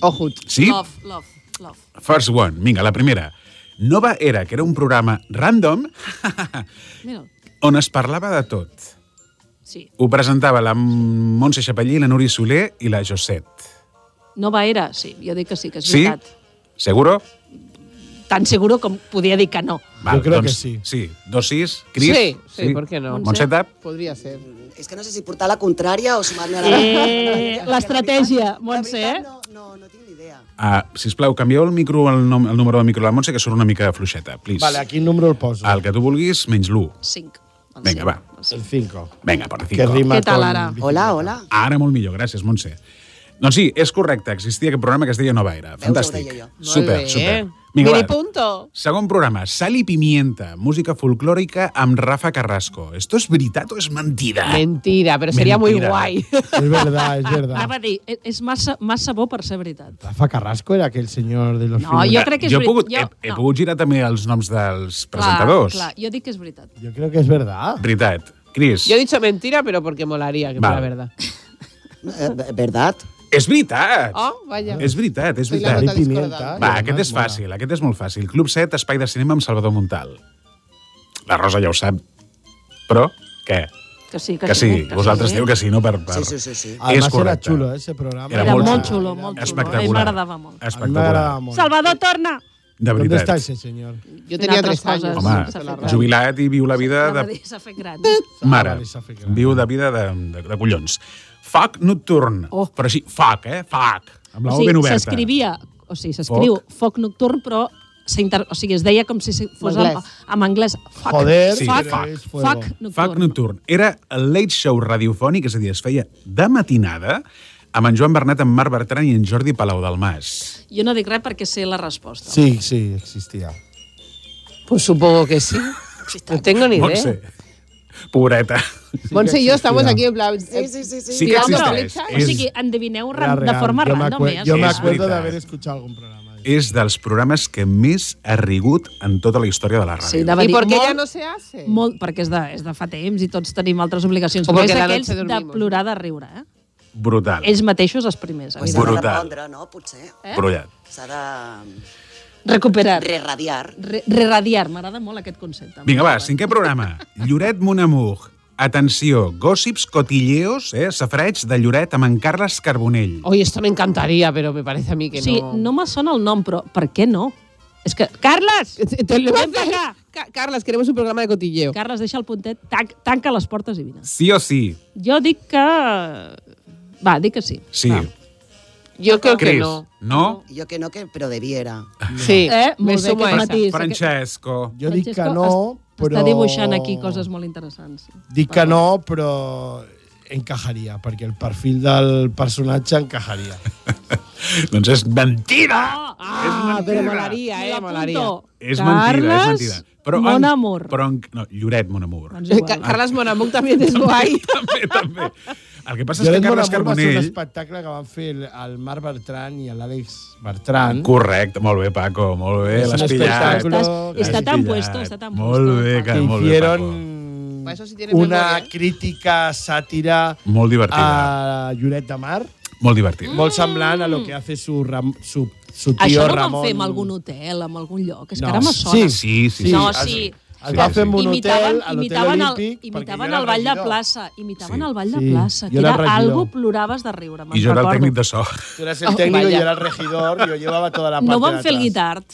Speaker 6: Ojut.
Speaker 7: Sí?
Speaker 3: Love, love, love.
Speaker 7: First one. Vinga, la primera. Nova Era, que era un programa random
Speaker 3: Mira,
Speaker 7: on es parlava de tot.
Speaker 3: sí.
Speaker 7: Ho presentava la Montse Chapallí, la Núria Soler i la Josset.
Speaker 3: Nova era, sí. Jo dic que sí, que és
Speaker 7: Sí?
Speaker 3: veritat.
Speaker 7: Seguro?
Speaker 3: Tan seguro com podia dir que no.
Speaker 7: Val,
Speaker 5: creo
Speaker 7: doncs,
Speaker 5: que sí.
Speaker 7: Sí. Dos sis, Cris?
Speaker 6: Sí, sí, ¿por qué no?
Speaker 7: Montseta?
Speaker 6: Podría ser.
Speaker 2: Es que no sé si portar la contrària o sumar-me a la...
Speaker 3: Eh, l'estratègia, Montse, eh?
Speaker 7: Ah, sisplau, canvieu el micro, el, nom, el número del micro de la Montse, que surt una mica fluixeta, please.
Speaker 5: Vale, aquí el número el poso.
Speaker 7: El que tu vulguis, menys l'1.
Speaker 3: 5.
Speaker 7: Vinga, va.
Speaker 5: El 5.
Speaker 7: Vinga, per
Speaker 5: Que
Speaker 7: 5.
Speaker 5: rima
Speaker 3: Què tal,
Speaker 5: con
Speaker 3: ara?
Speaker 2: Hola, hola.
Speaker 7: Ara molt millor, gràcies, Montse. Doncs sí, és correcte, existia aquest programa que es deia Nova Era. Fantàstic.
Speaker 2: ho deia jo.
Speaker 7: Super,
Speaker 6: Molt bé.
Speaker 7: super.
Speaker 6: Mini
Speaker 7: va.
Speaker 6: ¿Eh? punto.
Speaker 7: Segon programa, Sal i Pimienta, música folclòrica amb Rafa Carrasco. Esto es veritat o es mentida?
Speaker 6: Mentira, pero sería muy
Speaker 7: Mentira.
Speaker 6: guay.
Speaker 5: Es verdad, es
Speaker 3: Anava
Speaker 5: verdad.
Speaker 3: a dir, e- és massa, massa bo per ser veritat.
Speaker 5: Rafa Carrasco era aquel señor de los
Speaker 3: No,
Speaker 5: filmes.
Speaker 3: jo crec que és
Speaker 7: jo he
Speaker 3: veri-
Speaker 7: pogut,
Speaker 3: jo-
Speaker 7: he, he
Speaker 3: no.
Speaker 7: pogut girar també els noms dels
Speaker 3: Clar,
Speaker 7: presentadors.
Speaker 3: Clar, jo dic que és veritat.
Speaker 5: Yo creo que es verdad.
Speaker 7: Veritat. Cris,
Speaker 6: Yo he dicho mentira, pero porque molaría, que
Speaker 7: Vale.
Speaker 6: fuera verdad.
Speaker 2: Eh, ¿Verdad?
Speaker 7: és veritat!
Speaker 6: Oh, vaya.
Speaker 7: És veritat, és
Speaker 6: Soy la
Speaker 7: veritat.
Speaker 6: nota
Speaker 5: Sal y pimienta.
Speaker 6: discordante.
Speaker 7: Va,
Speaker 5: I
Speaker 7: aquest
Speaker 5: además
Speaker 7: és
Speaker 5: mola.
Speaker 7: fàcil, aquest és molt fàcil. Club 7, espai de cinema amb Salvador Montal. La Rosa ja ho sap, però què?
Speaker 3: Que sí, que,
Speaker 7: Que sí,
Speaker 3: que
Speaker 7: vosaltres
Speaker 3: sí.
Speaker 7: diu que sí, no? Per, per...
Speaker 2: Sí, sí, sí, sí.
Speaker 5: Además era
Speaker 7: correcte.
Speaker 5: chulo ¿eh? ese programa.
Speaker 7: Era
Speaker 3: Era
Speaker 7: molt
Speaker 3: molt
Speaker 7: xulo.
Speaker 3: xulo, molt xulo.
Speaker 7: Espectacular.
Speaker 3: A mi m'agradava molt.
Speaker 5: A mí me agradaba
Speaker 7: Espectacular.
Speaker 5: mucho.
Speaker 3: Salvador, torna!
Speaker 7: De
Speaker 5: ¿Dónde está
Speaker 7: veritat.
Speaker 5: ese señor?
Speaker 6: Yo tenía
Speaker 3: otras
Speaker 6: tres años.
Speaker 3: cosas.
Speaker 6: cuando empezó
Speaker 3: Home,
Speaker 6: la radio.
Speaker 7: Jubilat i viu la vida
Speaker 3: Anava
Speaker 7: de
Speaker 3: a dir, S'ha fet gran.
Speaker 7: Mare,
Speaker 5: Ah, vale, s'ha fet gran.
Speaker 7: viu de vida de, de, de collons. Foc nocturn.
Speaker 3: Oh.
Speaker 7: Però així, foc, eh? Foc. Amb la
Speaker 3: O
Speaker 7: O ben
Speaker 3: sigui,
Speaker 7: oberta.
Speaker 3: s'escrivia, o sigui, s'escriu foc. nocturn, però s'inter... o sigui, es deia com si fos en,
Speaker 6: Anglès.
Speaker 3: en anglès. Fuck.
Speaker 5: Joder,
Speaker 3: fuck,
Speaker 5: però és fuego.
Speaker 3: fuck,
Speaker 7: Foc
Speaker 3: nocturn.
Speaker 7: nocturn. Era el late show radiofònic, és a dir, es feia de matinada amb en Joan Bernat, en Marc Bertran i en Jordi Palau del Mas.
Speaker 3: Jo no dic res perquè sé la resposta.
Speaker 5: Sí, sí, existía.
Speaker 6: Pues supongo que sí. No tengo ni idea.
Speaker 7: Montse. Pobreta.
Speaker 6: Monse y yo estamos aquí en plan.
Speaker 2: Sí, sí, sí. sí.
Speaker 7: Sí que
Speaker 6: Tirando
Speaker 7: existeix.
Speaker 6: fletxes.
Speaker 3: O sigui, endevineu ran, de forma
Speaker 5: yo me,
Speaker 3: random,
Speaker 5: acue-
Speaker 3: eh?
Speaker 5: yo me
Speaker 7: És
Speaker 5: acuerdo de
Speaker 7: veritat.
Speaker 5: haber escuchado algun programa. de-
Speaker 7: És dels programes que més ha rigut en tota la història de la ràdio.
Speaker 3: Sí, anava a
Speaker 6: ¿Y
Speaker 3: dir,
Speaker 6: por qué
Speaker 3: molt,
Speaker 6: ya no se hace?
Speaker 3: molt, perquè és de, és de fa temps i tots tenim altres obligacions.
Speaker 6: O
Speaker 3: Però és
Speaker 6: perquè la
Speaker 3: d'aquells
Speaker 6: noche
Speaker 3: de
Speaker 6: dormimos.
Speaker 3: plorar de riure, eh?
Speaker 7: Brutal.
Speaker 3: Ells mateixos els primers.
Speaker 2: Pues
Speaker 3: Pues,
Speaker 2: s'ha de
Speaker 7: Brutal.
Speaker 2: repondre, no? Potser.
Speaker 3: eh?
Speaker 7: Brullat.
Speaker 2: S'ha de
Speaker 3: Recuperar.
Speaker 2: reradiar.
Speaker 3: Re- Reradiar. M'agrada molt aquest concepte.
Speaker 7: Vinga, va, cinquè programa. Lloret Monamur. Atenció, gossips, cotilleos, eh? safreig de Lloret amb en Carles Carbonell.
Speaker 6: Oye, esto me encantaría, pero me parece a mí que
Speaker 3: Sí,
Speaker 6: no.
Speaker 3: no me sona el nom, però per què no? És que... Carles!
Speaker 6: Te- te levantas-
Speaker 3: Ven para acá.
Speaker 6: Ca- Carlas, queremos un programa de cotilleo.
Speaker 3: Carles, deixa el puntet, tac, tanca les portes i vine.
Speaker 7: Sí o sí?
Speaker 3: Jo dic que... Va, dic que sí.
Speaker 7: Sí.
Speaker 3: Va.
Speaker 6: Yo creo que
Speaker 7: Cris,
Speaker 6: no.
Speaker 7: no?
Speaker 2: Jo que no, que, però debiera.
Speaker 6: Sí,
Speaker 3: Eh,
Speaker 6: me
Speaker 3: molt bé,
Speaker 6: sumo a
Speaker 3: aquest
Speaker 6: esa.
Speaker 3: matí.
Speaker 7: Francesco.
Speaker 5: Jo dic que
Speaker 3: Francesco
Speaker 5: no,
Speaker 3: es-
Speaker 5: però...
Speaker 3: Està dibuixant aquí coses molt interessants.
Speaker 5: Dic que no, però encajaria, perquè el perfil del personatge encajaria.
Speaker 7: Doncs és mentida!
Speaker 6: Ah, pero molaría, eh, molaría.
Speaker 7: És mentida, és mentida.
Speaker 3: Mon amor.
Speaker 7: Però en, no, Lloret Monamur.
Speaker 3: Doncs
Speaker 6: Ca-
Speaker 3: igual.
Speaker 6: Carlas Monamuc también es guay.
Speaker 7: també, també. El que passa és
Speaker 5: Jo
Speaker 7: que
Speaker 5: crec que
Speaker 7: Carles
Speaker 5: va ser un
Speaker 7: Carbonell...
Speaker 5: espectacle que van fer el, el Marc Bertran i l'Àlex Bertran.
Speaker 7: Mm. Correcte, molt bé, Paco, molt bé,
Speaker 5: És un
Speaker 7: l'has pillat.
Speaker 5: espectacle
Speaker 3: Estàs-
Speaker 5: que
Speaker 3: està
Speaker 7: L'has
Speaker 3: tan
Speaker 7: pillat.
Speaker 3: puesto, está tan
Speaker 7: Molt
Speaker 3: puesto,
Speaker 7: bé,
Speaker 3: Paco.
Speaker 7: que molt
Speaker 5: que
Speaker 7: bé, Paco.
Speaker 5: hicieron
Speaker 6: Para eso sí tiene memoria,
Speaker 5: una
Speaker 6: ¿eh?
Speaker 5: crítica sátira
Speaker 7: Molt divertida,
Speaker 5: a Lloret de Mar,
Speaker 7: molt divertida.
Speaker 5: molt semblant a lo que hace su, Ram, su, su tío
Speaker 3: Mm. Això no ho van
Speaker 5: Ramon.
Speaker 3: fer en algun hotel, en algun lloc. És
Speaker 5: No,
Speaker 3: que ara me sona.
Speaker 7: Sí, sí, Ah, sí.
Speaker 3: No,
Speaker 5: es-
Speaker 3: sí.
Speaker 5: Es va
Speaker 7: Sí,
Speaker 5: fer en
Speaker 7: sí.
Speaker 5: un
Speaker 3: imitaven,
Speaker 5: hotel, a l'hotel
Speaker 3: imitaven, el,
Speaker 5: olímpic. perquè
Speaker 3: imitaven
Speaker 5: jo era
Speaker 3: el ball de
Speaker 5: regidor.
Speaker 3: plaça. Imitaven
Speaker 7: Sí.
Speaker 3: el ball de
Speaker 5: Sí,
Speaker 3: plaça.
Speaker 5: jo
Speaker 3: Que era,
Speaker 5: era regidor.
Speaker 3: algo ploraves de riure, me'n
Speaker 7: I jo era el
Speaker 3: recordo.
Speaker 7: tècnic de so.
Speaker 5: Tú eras el técnico
Speaker 6: Vaya.
Speaker 5: y yo era el regidor, yo llevaba toda tota la parte
Speaker 3: Oh, No
Speaker 5: de
Speaker 3: van fer el
Speaker 5: atrás.
Speaker 3: guitart,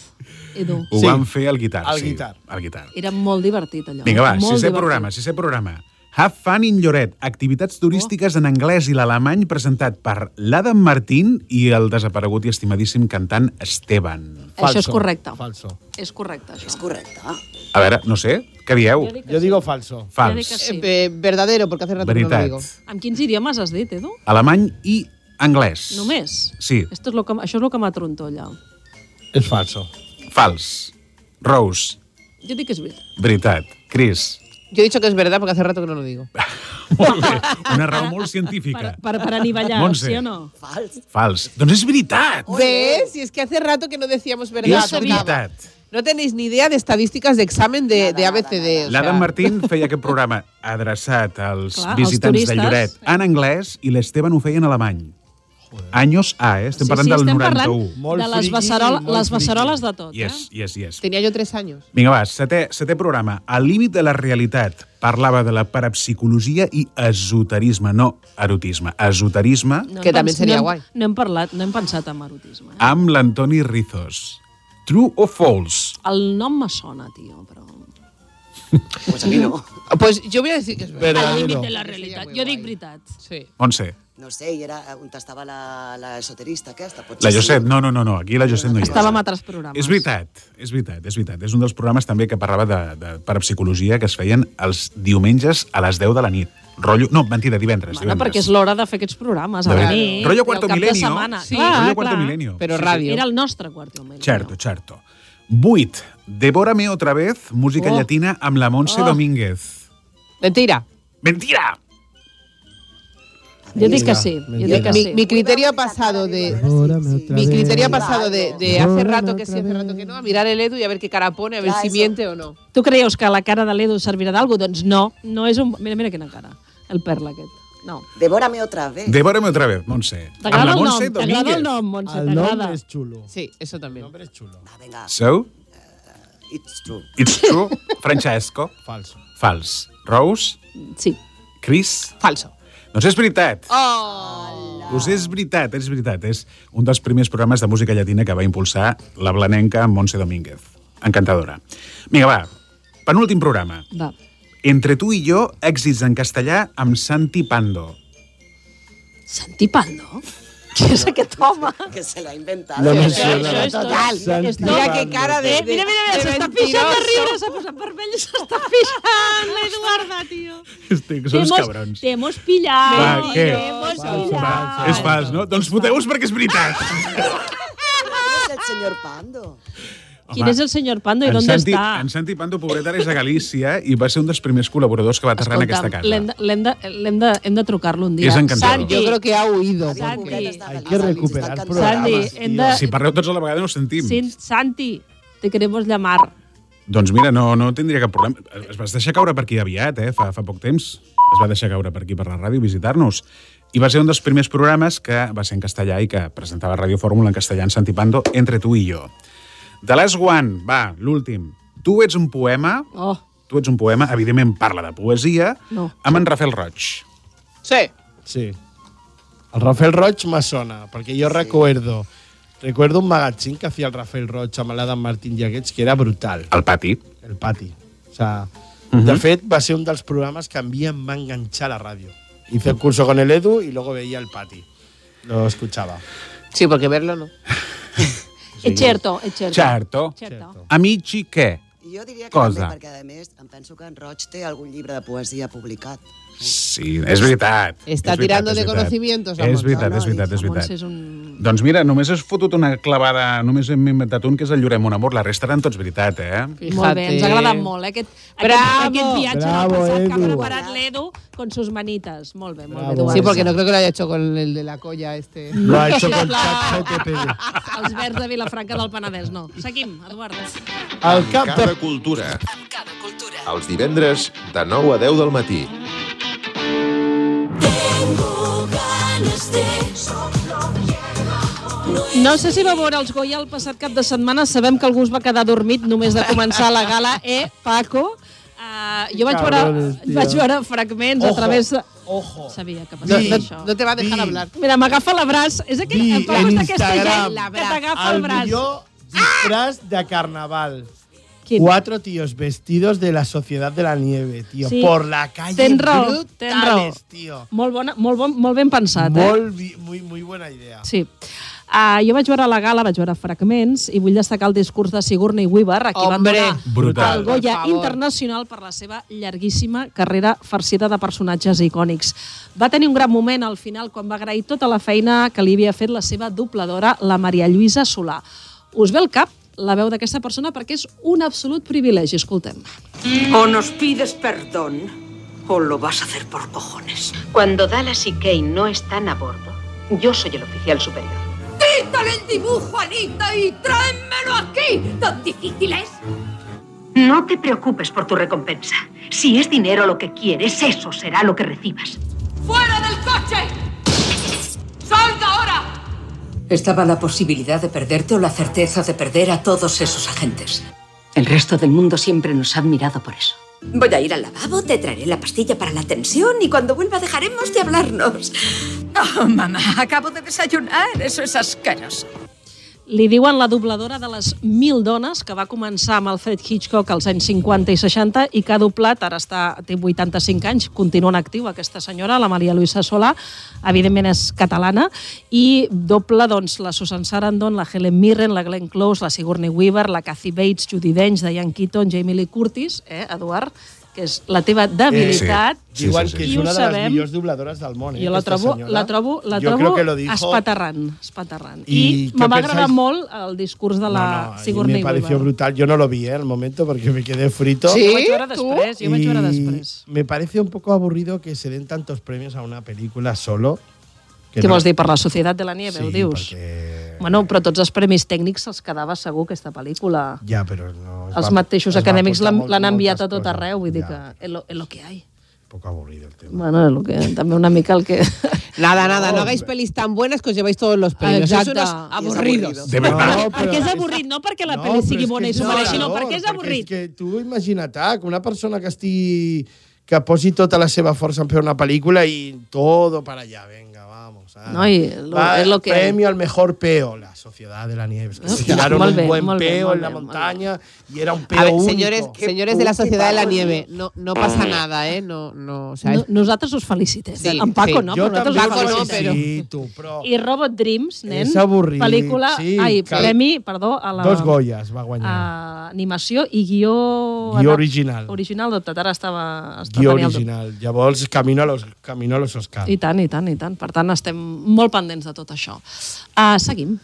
Speaker 3: Edu.
Speaker 7: Ho
Speaker 5: Sí.
Speaker 7: van fer al guitar,
Speaker 5: Al
Speaker 7: sí.
Speaker 5: guitar.
Speaker 7: Al guitar.
Speaker 3: Era molt divertit, allò.
Speaker 7: Vinga, va,
Speaker 3: molt
Speaker 7: sisè
Speaker 3: divertit.
Speaker 7: programa, sisè programa. Have Fun in Lloret, activitats turístiques
Speaker 5: Oh.
Speaker 7: en anglès i l'alemany presentat per l'Adam Martín i el desaparegut i estimadíssim cantant Esteban.
Speaker 3: Això és correcte.
Speaker 5: Falso.
Speaker 3: És correcte, això.
Speaker 2: És correcte.
Speaker 7: A veure, no sé, què dieu?
Speaker 3: Jo dic que
Speaker 5: Yo
Speaker 3: sí.
Speaker 5: digo falso.
Speaker 3: Jo dic que
Speaker 7: Fals.
Speaker 3: sí.
Speaker 6: Eh, verdadero, porque hace rato que no lo
Speaker 7: Veritat.
Speaker 6: digo.
Speaker 3: Amb quins idiomes has dit, Edu?
Speaker 7: Alemany i anglès.
Speaker 3: Només?
Speaker 7: Sí,
Speaker 3: Esto és lo que, això és el que m'atronto, allò.
Speaker 5: Es falso.
Speaker 7: fals. Rose,
Speaker 3: Jo dic que és veritat.
Speaker 7: veritat. Chris,
Speaker 6: Yo he dicho que es verdad porque hace rato que no lo digo.
Speaker 7: Molt bé, una raó molt científica.
Speaker 3: Per, per anivellar,
Speaker 7: Montse.
Speaker 3: sí o no?
Speaker 2: Fals.
Speaker 7: Fals. Doncs és veritat.
Speaker 6: ¿Ves? Y es que hace rato que no decíamos verdad.
Speaker 7: és veritat.
Speaker 6: No tenéis ni idea de estadísticas de examen de, de ABCD. o
Speaker 7: L'Adam
Speaker 6: sea.
Speaker 7: Martín feia aquest programa adreçat als
Speaker 6: Clar, als
Speaker 7: visitants de
Speaker 6: turistes.
Speaker 7: Lloret en anglès i l'Esteban ho feia en alemany. Anys A, eh? Estem
Speaker 3: Sí,
Speaker 7: parlant
Speaker 3: sí,
Speaker 7: del
Speaker 3: estem
Speaker 7: 91.
Speaker 3: parlant de les, becerola, les beceroles de tot. eh?
Speaker 7: Yes, yes, yes.
Speaker 6: Tenía yo tres años.
Speaker 7: Vinga, va, setè, setè programa. Al límit de la realitat parlava de la parapsicologia i esoterisme, no erotisme, esoterisme
Speaker 3: No hem
Speaker 6: Que també
Speaker 3: pens-
Speaker 6: seria
Speaker 3: no hem-
Speaker 6: guai.
Speaker 3: No hem parlat, no hem pensat en erotisme. eh?
Speaker 7: amb l'Antoni Rizos. True o false?
Speaker 3: El nom me sona, tio, però...
Speaker 7: Ah,
Speaker 2: Pues a mí no.
Speaker 6: Pues yo voy a decir que es
Speaker 7: Verdadero.
Speaker 3: Al límit de la realitat. Jo dic veritat.
Speaker 6: Sí.
Speaker 7: Montse,
Speaker 2: No sé, y era on estava la, la esoterista aquesta. Potser
Speaker 7: la
Speaker 2: sí.
Speaker 7: Josep, no, no, no, no aquí la Josep no hi és.
Speaker 3: Estava en altres programes.
Speaker 7: És veritat, és veritat, és veritat. És un dels programes també que parlava de, de parapsicologia que es feien els diumenges a les 10 de la nit. Rollo, no, mentida, divendres.
Speaker 3: Bueno,
Speaker 7: divendres.
Speaker 3: perquè és l'hora de fer aquests programes a
Speaker 7: De
Speaker 3: la
Speaker 7: veritat.
Speaker 3: nit.
Speaker 7: Rollo
Speaker 3: i al
Speaker 7: Cuarto
Speaker 3: cap de
Speaker 7: Milenio.
Speaker 3: setmana.
Speaker 7: Sí,
Speaker 3: Clar,
Speaker 7: Rollo Cuarto
Speaker 3: clar.
Speaker 7: Milenio.
Speaker 6: Però Sí, sí. ràdio.
Speaker 3: Era el nostre Cuarto Milenio.
Speaker 7: Certo, certo. 8. Devórame otra vez, música
Speaker 6: Oh.
Speaker 7: llatina amb la Montse
Speaker 6: Oh.
Speaker 7: Domínguez.
Speaker 6: Mentira.
Speaker 7: Mentira!
Speaker 3: Jo dic que sí. Jo dic que
Speaker 6: Mi,
Speaker 3: sí.
Speaker 6: mi criterio ha pasado de. Mi criterio ha pasado de, de hace rato que sí, hace rato que no, a mirar el Edu y a ver qué cara pone, a ver
Speaker 2: Ya,
Speaker 6: si
Speaker 2: eso.
Speaker 6: miente o no.
Speaker 3: Tu creus que la cara de l'Edu servirà d'algú? Doncs no, no és un... Mira, mira quina cara, el perla aquest. No.
Speaker 2: Devórame otra vez.
Speaker 7: Devórame otra vez, Montse. Amb
Speaker 3: T'agrada
Speaker 7: la
Speaker 3: el nom,
Speaker 7: Montse
Speaker 3: t'agrada
Speaker 7: Domínguez.
Speaker 3: el nom, Montse,
Speaker 5: El
Speaker 3: t'agrada.
Speaker 5: nombre es chulo.
Speaker 6: Sí, eso también.
Speaker 5: es chulo.
Speaker 2: Va, Ah, venga,
Speaker 7: So,
Speaker 2: it's true.
Speaker 7: it's true. Francesco.
Speaker 5: Falso.
Speaker 7: Fals. Rose.
Speaker 3: Sí.
Speaker 7: Chris.
Speaker 6: Falso.
Speaker 7: Doncs és veritat.
Speaker 6: Oh,
Speaker 7: Us és veritat, és veritat. És un dels primers programes de música llatina que va impulsar la blanenca Montse Domínguez. Encantadora. Vinga, va. Penúltim programa.
Speaker 3: Va.
Speaker 7: Entre tu i jo, èxits en castellà amb Santi Pando.
Speaker 3: Santi Pando? Qui és aquest home?
Speaker 2: Que se la ha inventado.
Speaker 11: No me
Speaker 3: Això,
Speaker 11: suena.
Speaker 3: això és total.
Speaker 11: Santi
Speaker 3: és
Speaker 6: mira
Speaker 3: total.
Speaker 6: qué cara de.
Speaker 3: Eh, mira, mira, mira,
Speaker 6: de
Speaker 3: s'està fixant de
Speaker 6: mentiroso.
Speaker 3: riure, s'ha posat vermell i s'està fixant, l'Eduarda, tio.
Speaker 7: Estic,
Speaker 3: Te
Speaker 7: són uns
Speaker 3: hemos-
Speaker 7: cabrons.
Speaker 3: Te hemos pillado.
Speaker 7: Va,
Speaker 3: tio,
Speaker 7: què?
Speaker 3: Te hemos pillado.
Speaker 7: És fals, no? Doncs foteu-vos perquè és veritat.
Speaker 2: ¿Quién es el señor Pando?
Speaker 3: Quin és el senyor Pando i
Speaker 7: en
Speaker 3: on
Speaker 7: Santi,
Speaker 3: està?
Speaker 7: En Santi Pando, pobret, ara és de Galícia i va ser un dels primers col·laboradors que va aterrar en aquesta casa.
Speaker 3: l'hem de, l'hem de, l'hem de, hem de trucar-lo un dia.
Speaker 7: És encantador.
Speaker 6: Yo creo que ha huido.
Speaker 3: Santi,
Speaker 5: Hay que recuperar programas.
Speaker 3: Santi,
Speaker 5: tío.
Speaker 3: hem de...
Speaker 7: Si parleu tots a la vegada no us sentim.
Speaker 3: Sí, Santi, te queremos llamar.
Speaker 7: Doncs mira, no, no tindria cap problema. Es vas deixar caure per aquí aviat, eh? fa, fa poc temps. Es va deixar caure per aquí per la ràdio, visitar-nos. I va ser un dels primers programes que va ser en castellà i que presentava Ràdio Fórmula en castellà en Santi Pando, Entre tu i jo. The Last One, va, l'últim. Tu ets un poema,
Speaker 3: Oh,
Speaker 7: tu ets un poema, evidentment parla de poesia,
Speaker 3: no.
Speaker 7: amb en Rafael Roig.
Speaker 6: Sí.
Speaker 5: Sí. El Rafael Roch me sona, porque yo recuerdo. Recuerdo un magazine que hacía el Rafael Roch amb l'Adam Martín i aquests, que era brutal.
Speaker 7: Al pati.
Speaker 5: El pati. O sea, de fet, va ser un dels programes que a mi em va enganxar a la ràdio. Hice el curso con el Edu y luego veía el pati. Lo escuchaba.
Speaker 6: Sí, porque verlo no.
Speaker 3: és cierto, és cierto.
Speaker 7: Certo.
Speaker 3: Certo.
Speaker 7: Amici què?
Speaker 2: Jo diria que
Speaker 7: Cosa.
Speaker 2: també, perquè a més em penso que en Roig té algun llibre de poesia publicat.
Speaker 7: Sí, és veritat.
Speaker 6: Está
Speaker 7: és veritat,
Speaker 6: tirando
Speaker 7: és
Speaker 6: de
Speaker 7: veritat.
Speaker 6: conocimientos. la
Speaker 7: És
Speaker 6: Montse.
Speaker 7: veritat, és veritat, és
Speaker 3: Montse
Speaker 7: veritat.
Speaker 3: és un...
Speaker 7: Doncs mira, només has fotut una clavada, només hem inventat un, que és el Llorem un amor. La resta eren tots veritat, eh?
Speaker 3: Molt bé, ens ha agradat molt, eh? aquest, aquest,
Speaker 6: Bravo.
Speaker 3: aquest viatge
Speaker 5: Bravo,
Speaker 3: del passat que ha
Speaker 5: Edu.
Speaker 3: preparat l'Edu con sus manitas. Molt bé, molt bé,
Speaker 5: Bravo.
Speaker 3: Eduard.
Speaker 6: Sí, porque no creo que lo haya hecho con el de la colla este.
Speaker 5: Lo ha hecho con
Speaker 3: Sisplau.
Speaker 5: ChatGPT.
Speaker 3: Els verds de Vilafranca del Penedès, no. Seguim, Eduard.
Speaker 5: Al
Speaker 1: Amb
Speaker 5: cap de...
Speaker 1: cada cultura. Els divendres de 9 a 10 del matí.
Speaker 3: No sé si va veure els Goya el passat cap de setmana. Sabem que algú es va quedar dormit només de començar la gala. Eh, Paco? Uh, jo vaig veure,
Speaker 5: Cabrones, tio.
Speaker 3: vaig veure fragments a
Speaker 5: Ojo.
Speaker 3: través... De...
Speaker 5: Ojo.
Speaker 3: Sabia que
Speaker 6: No,
Speaker 3: passaria
Speaker 6: no-
Speaker 3: això.
Speaker 6: no te va a dejar
Speaker 5: Sí.
Speaker 6: hablar.
Speaker 3: Mira, m'agafa l'abraç. És aquell
Speaker 5: Di
Speaker 3: em fa
Speaker 5: en
Speaker 3: gust aquesta
Speaker 5: Instagram.
Speaker 3: gent que t'agafa el
Speaker 5: Al
Speaker 3: braç.
Speaker 5: millor disfraz de carnaval.
Speaker 3: Quin?
Speaker 5: Cuatro tíos vestidos de la Sociedad de la Nieve, tío.
Speaker 3: Sí.
Speaker 5: Por la calle.
Speaker 3: Ten raó,
Speaker 5: brutales,
Speaker 3: ten raó.
Speaker 5: tío.
Speaker 3: Molt, bona, molt, bon, molt ben pensat, eh?
Speaker 5: Molt bi- muy, muy buena idea.
Speaker 3: Sí. Uh, jo vaig veure la gala, vaig veure fragments, i vull destacar el discurs de Sigourney Weaver, a qui van
Speaker 6: Hombre.
Speaker 3: donar
Speaker 7: Brutal.
Speaker 3: el Goya
Speaker 6: Per favor.
Speaker 3: Internacional per la seva llarguíssima carrera farcida de personatges icònics. Va tenir un gran moment al final quan va agrair tota la feina que li havia fet la seva dobladora, la Maria Lluïsa Solà. Us ve el cap la veu d'aquesta persona perquè és un absolut privilegi. Escoltem.
Speaker 11: O nos pides perdón o lo vas a hacer por cojones.
Speaker 12: Cuando Dallas y Kane no están a bordo, yo soy el oficial superior.
Speaker 13: ¡Quítale el dibujo, Anita, y tráemelo aquí! ¿Tan difícil es?
Speaker 12: No te preocupes por tu recompensa. Si es dinero lo que quieres, eso será lo que recibas.
Speaker 13: ¡Fuera del coche! ¡Salga ahora!
Speaker 11: Estaba la posibilidad de perderte o la certeza de perder a todos esos agentes.
Speaker 12: El resto del mundo siempre nos ha admirado por eso.
Speaker 14: Voy a ir al lavabo, te traeré la pastilla para la tensión y cuando vuelva dejaremos de hablarnos.
Speaker 13: Oh, mamá, acabo de desayunar. Eso es asqueroso.
Speaker 3: Li diuen la dobladora de les Mil Dones, que va començar amb Alfred Hitchcock als anys 50 i 60 i que ha doblat, ara està, té 85 anys, continua en actiu aquesta senyora, la Maria Luisa Solà, evidentment és catalana, i dobla doncs, la Susan Sarandon, la Helen Mirren, la Glenn Close, la Sigourney Weaver, la Kathy Bates, Judy Dench, Diane Keaton, Jamie Lee Curtis, eh, Eduard, que és la teva debilitat.
Speaker 5: Eh, sí. Diuen que és
Speaker 3: I ho
Speaker 5: una de les
Speaker 3: sabem.
Speaker 5: millors dobladores del món. Eh,
Speaker 3: Jo la
Speaker 5: aquesta
Speaker 3: trobo,
Speaker 5: senyora.
Speaker 3: la trobo, la
Speaker 5: Jo
Speaker 3: trobo
Speaker 5: creo que lo dijo-
Speaker 3: espaterrant, espaterrant. I,
Speaker 5: I
Speaker 3: I
Speaker 5: què
Speaker 3: me va
Speaker 5: pensáis?
Speaker 3: agradar molt el discurs de la no, no,
Speaker 5: Y
Speaker 3: Sigourney
Speaker 5: me pareció
Speaker 3: Weaver.
Speaker 5: brutal. Yo no lo vi eh, al momento porque me quedé frito.
Speaker 3: Sí, Yo me llora ¿Tú? después, yo me
Speaker 5: Y
Speaker 3: llora después.
Speaker 5: Me parece un poco aburrido que se den tantos premios a una película solo.
Speaker 3: Què vols dir, per la Societat de la Nieve,
Speaker 5: Sí,
Speaker 3: ho dius? Perquè... Bueno, però tots els premis tècnics se'ls quedava segur aquesta pel·lícula.
Speaker 5: Ja, però no... es
Speaker 3: els
Speaker 5: va-
Speaker 3: mateixos
Speaker 5: es va
Speaker 3: acadèmics
Speaker 5: aportar
Speaker 3: l'han
Speaker 5: molt-
Speaker 3: l'han enviat a
Speaker 5: moltes
Speaker 3: tot
Speaker 5: coses.
Speaker 3: arreu, vull dir
Speaker 5: Ja,
Speaker 3: que és lo, es lo que hay.
Speaker 5: Un poco aburrido el tema.
Speaker 3: Bueno, es lo que, també una mica el que...
Speaker 6: Nada, nada, no hagáis pelis tan buenas que os lleváis todos los premios.
Speaker 3: Exacte.
Speaker 6: Sois unos aburridos.
Speaker 5: De verdad. No,
Speaker 3: perquè és avorrit, no perquè la pel·li sigui bona i s'ho mereixi, no,
Speaker 5: valor,
Speaker 3: perquè és avorrit.
Speaker 5: Perquè és que tu imagina't ah, que una persona que estigui que posi tota la seva força en fer una pel·lícula i todo para allá, venga, vamos. Ah.
Speaker 3: No, i lo-
Speaker 5: Va,
Speaker 3: és lo que-
Speaker 5: Premio al mejor peo, la Sociedad de la Nieve. Es que
Speaker 3: No,
Speaker 5: se tiraron
Speaker 3: molt
Speaker 5: un
Speaker 3: bé,
Speaker 5: buen
Speaker 3: molt bé,
Speaker 5: peo
Speaker 3: molt
Speaker 5: en la
Speaker 3: bé, molt
Speaker 5: montaña y era un peo
Speaker 6: A ver,
Speaker 5: único.
Speaker 6: señores, señores de la Sociedad de la Nieve, no, no pasa nada, ¿eh? No, no, o sea,
Speaker 3: No,
Speaker 6: es-
Speaker 3: nosaltres us felicitem. Sí,
Speaker 6: Sí,
Speaker 3: en Paco
Speaker 6: sí.
Speaker 3: no,
Speaker 6: Jo
Speaker 3: però nosaltres
Speaker 6: també
Speaker 3: us
Speaker 6: Paco no,
Speaker 3: felicitem.
Speaker 5: Felicito, però...
Speaker 3: I Robot Dreams, nen.
Speaker 5: És avorrit,
Speaker 3: Pel·lícula,
Speaker 5: sí,
Speaker 3: ai,
Speaker 5: cal-
Speaker 3: premi, perdó, a la... Ah,
Speaker 5: Dos Goyas va guanyar.
Speaker 3: A animació i guió...
Speaker 5: Guió original.
Speaker 3: Original, de Tatara estava... estava
Speaker 5: Guió original. Llavors, camino a los, camino a los Oscars.
Speaker 3: I tant, i tant, i tant. Per tant, estem molt pendents de tot això. Uh, seguim.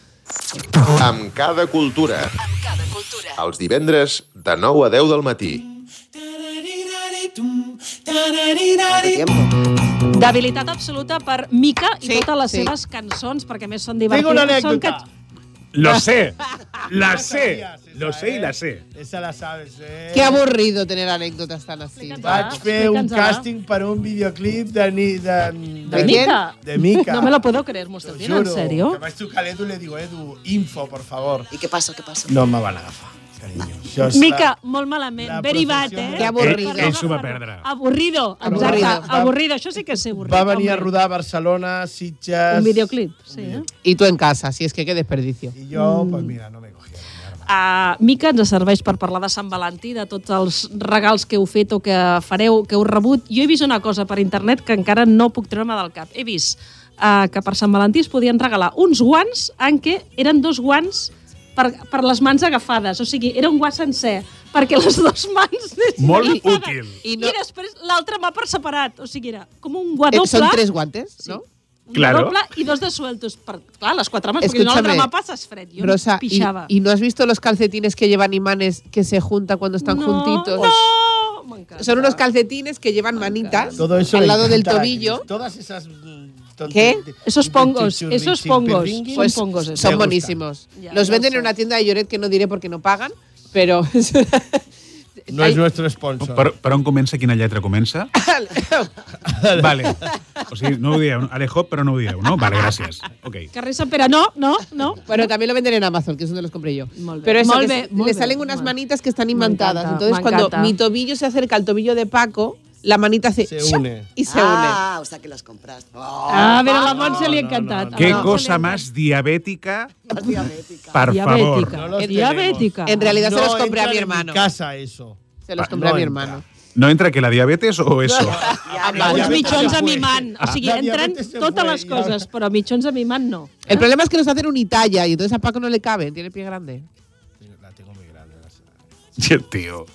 Speaker 1: Amb cada cultura. Amb cada cultura. Els divendres de 9 a 10 del matí.
Speaker 3: Debilitat absoluta per Mica i
Speaker 6: Sí,
Speaker 3: totes les
Speaker 6: sí.
Speaker 3: seves cançons, perquè a més són divertides.
Speaker 5: Tengo una
Speaker 3: Són
Speaker 5: anécdota.
Speaker 7: Lo sé, la sé,
Speaker 5: sabías esa,
Speaker 7: lo sé
Speaker 5: eh?
Speaker 7: y la sé.
Speaker 5: Esa la sabes, eh?
Speaker 6: qué aburrido tener anécdotas tan así.
Speaker 3: Ah,
Speaker 5: Vaig fer un
Speaker 3: Explica'ns-la.
Speaker 5: càsting per un videoclip de... Ni, de,
Speaker 3: De Mica.
Speaker 5: De Mica.
Speaker 3: No me lo puedo creer, Mostardino, en
Speaker 5: Juro,
Speaker 3: serio.
Speaker 5: Que vaig trucar a l'Edu i li diu, Edu, info, por favor.
Speaker 2: I què passa, què passa?
Speaker 5: No me van agafar, carinyo. Això és
Speaker 3: Mica,
Speaker 5: la-
Speaker 3: molt malament.
Speaker 5: la
Speaker 3: Very bad,
Speaker 5: professió
Speaker 3: eh?
Speaker 5: de-
Speaker 6: Qué aburrido.
Speaker 7: Ell- ell s'ho va perdre.
Speaker 3: Aburrido, exacte.
Speaker 6: Aburrido.
Speaker 3: Aburrido.
Speaker 5: Va-
Speaker 3: Això sí que és ser avorrit.
Speaker 5: Va venir a
Speaker 3: home.
Speaker 5: rodar a Barcelona, Sitges...
Speaker 3: Un videoclip, sí. Eh?
Speaker 6: Y tú en casa, si es que qué desperdicio.
Speaker 5: I jo,
Speaker 3: Mm.
Speaker 5: pues mira, no me cogieron.
Speaker 3: Uh, Mica ens serveix per parlar de Sant Valentí, de tots els regals que heu fet o que fareu, que heu rebut. Jo he vist una cosa per internet que encara no puc treure-me del cap. He vist uh, que per Sant Valentí es podien regalar uns guants en què eren dos guants per, per les mans agafades. O sigui, era un guant sencer perquè les dues mans anessin
Speaker 7: Molt
Speaker 3: agafades.
Speaker 7: útil.
Speaker 3: I,
Speaker 6: I no-
Speaker 3: I després l'altra mà per separat. O sigui, era com un guant
Speaker 6: Eh,
Speaker 3: doble.
Speaker 6: Son tres guantes,
Speaker 3: Sí.
Speaker 6: ¿no?
Speaker 3: un
Speaker 7: Claro.
Speaker 3: doble i dos de sueltos. Per, clar, les quatre mans, perquè si no l'altra
Speaker 6: Escúchame,
Speaker 3: mà passes fred. Jo em
Speaker 6: Rosa, y,
Speaker 3: pixava.
Speaker 6: y no has visto los calcetines que llevan imanes que se juntan cuando están
Speaker 3: no,
Speaker 6: juntitos?
Speaker 3: No, m'encanta.
Speaker 6: Son unos calcetines que llevan manitas
Speaker 5: Pues Todo eso
Speaker 6: al
Speaker 5: le
Speaker 6: lado del
Speaker 5: encanta a Cris.
Speaker 6: tobillo.
Speaker 5: Todas esas... mm, tonti-
Speaker 6: ¿Qué?
Speaker 3: Esos pongos, esos pongos.
Speaker 5: chirpirringuis.
Speaker 3: Pues- Son pongos,
Speaker 5: Me
Speaker 6: Son
Speaker 5: gusta.
Speaker 6: buenísimos.
Speaker 3: Ya,
Speaker 6: Los
Speaker 3: ya
Speaker 6: venden
Speaker 3: sé.
Speaker 6: en una tienda de Lloret que no diré porque no pagan, pero.
Speaker 5: No és nuestro sponsor.
Speaker 7: Per, per on comença? Quina lletra comença? vale. O sigui, no ho dieu. Alejo, però no ho dieu, no? Vale, gràcies. Ok.
Speaker 3: Carrer Sant Pere, no, no, no.
Speaker 6: Bueno, también lo venden en Amazon, que es donde los compré yo.
Speaker 3: Molt bé.
Speaker 6: Pero eso,
Speaker 3: Molt
Speaker 6: que
Speaker 3: bé,
Speaker 6: se-
Speaker 3: molt
Speaker 6: le
Speaker 3: bé,
Speaker 6: salen unas
Speaker 3: molt bé.
Speaker 6: manitas que están
Speaker 3: Me
Speaker 6: imantadas.
Speaker 3: encanta,
Speaker 6: Entonces,
Speaker 3: me
Speaker 6: cuando
Speaker 3: encanta.
Speaker 6: mi tobillo se acerca al tobillo de Paco, la manita hace
Speaker 5: Se
Speaker 6: ¡shop!
Speaker 5: une.
Speaker 6: y se
Speaker 2: ah, o sea que les compras. Oh,
Speaker 3: Ah, però a la Montse li ha encantat.
Speaker 7: Qué
Speaker 3: A la Montse
Speaker 7: cosa
Speaker 3: li ha
Speaker 7: más diabética,
Speaker 2: vas diabètica.
Speaker 7: per favor.
Speaker 3: Diabètica.
Speaker 5: No los
Speaker 3: diabètica.
Speaker 5: tenemos.
Speaker 6: En realidad se
Speaker 5: No
Speaker 6: los compré a
Speaker 5: entra
Speaker 6: mi
Speaker 5: en
Speaker 6: hermano.
Speaker 5: casa eso.
Speaker 6: une. Se los
Speaker 7: Va,
Speaker 6: compré
Speaker 7: no
Speaker 6: a mi
Speaker 7: entra.
Speaker 6: hermano.
Speaker 7: No entra que la diabetes o eso?
Speaker 5: La
Speaker 3: Uns
Speaker 5: diabetes
Speaker 3: mitjons
Speaker 5: se
Speaker 3: a
Speaker 5: fue.
Speaker 3: mimant. O sigui,
Speaker 5: La
Speaker 3: entren
Speaker 5: diabetes se
Speaker 3: totes
Speaker 5: fue,
Speaker 3: les
Speaker 5: ja.
Speaker 3: coses, però mitjons a mimant no.
Speaker 6: El problema es que nos hacen unitalla y entonces a Paco no le caben, tiene el pie grande.
Speaker 5: La tengo muy grande. la señora.
Speaker 7: Sí, tío.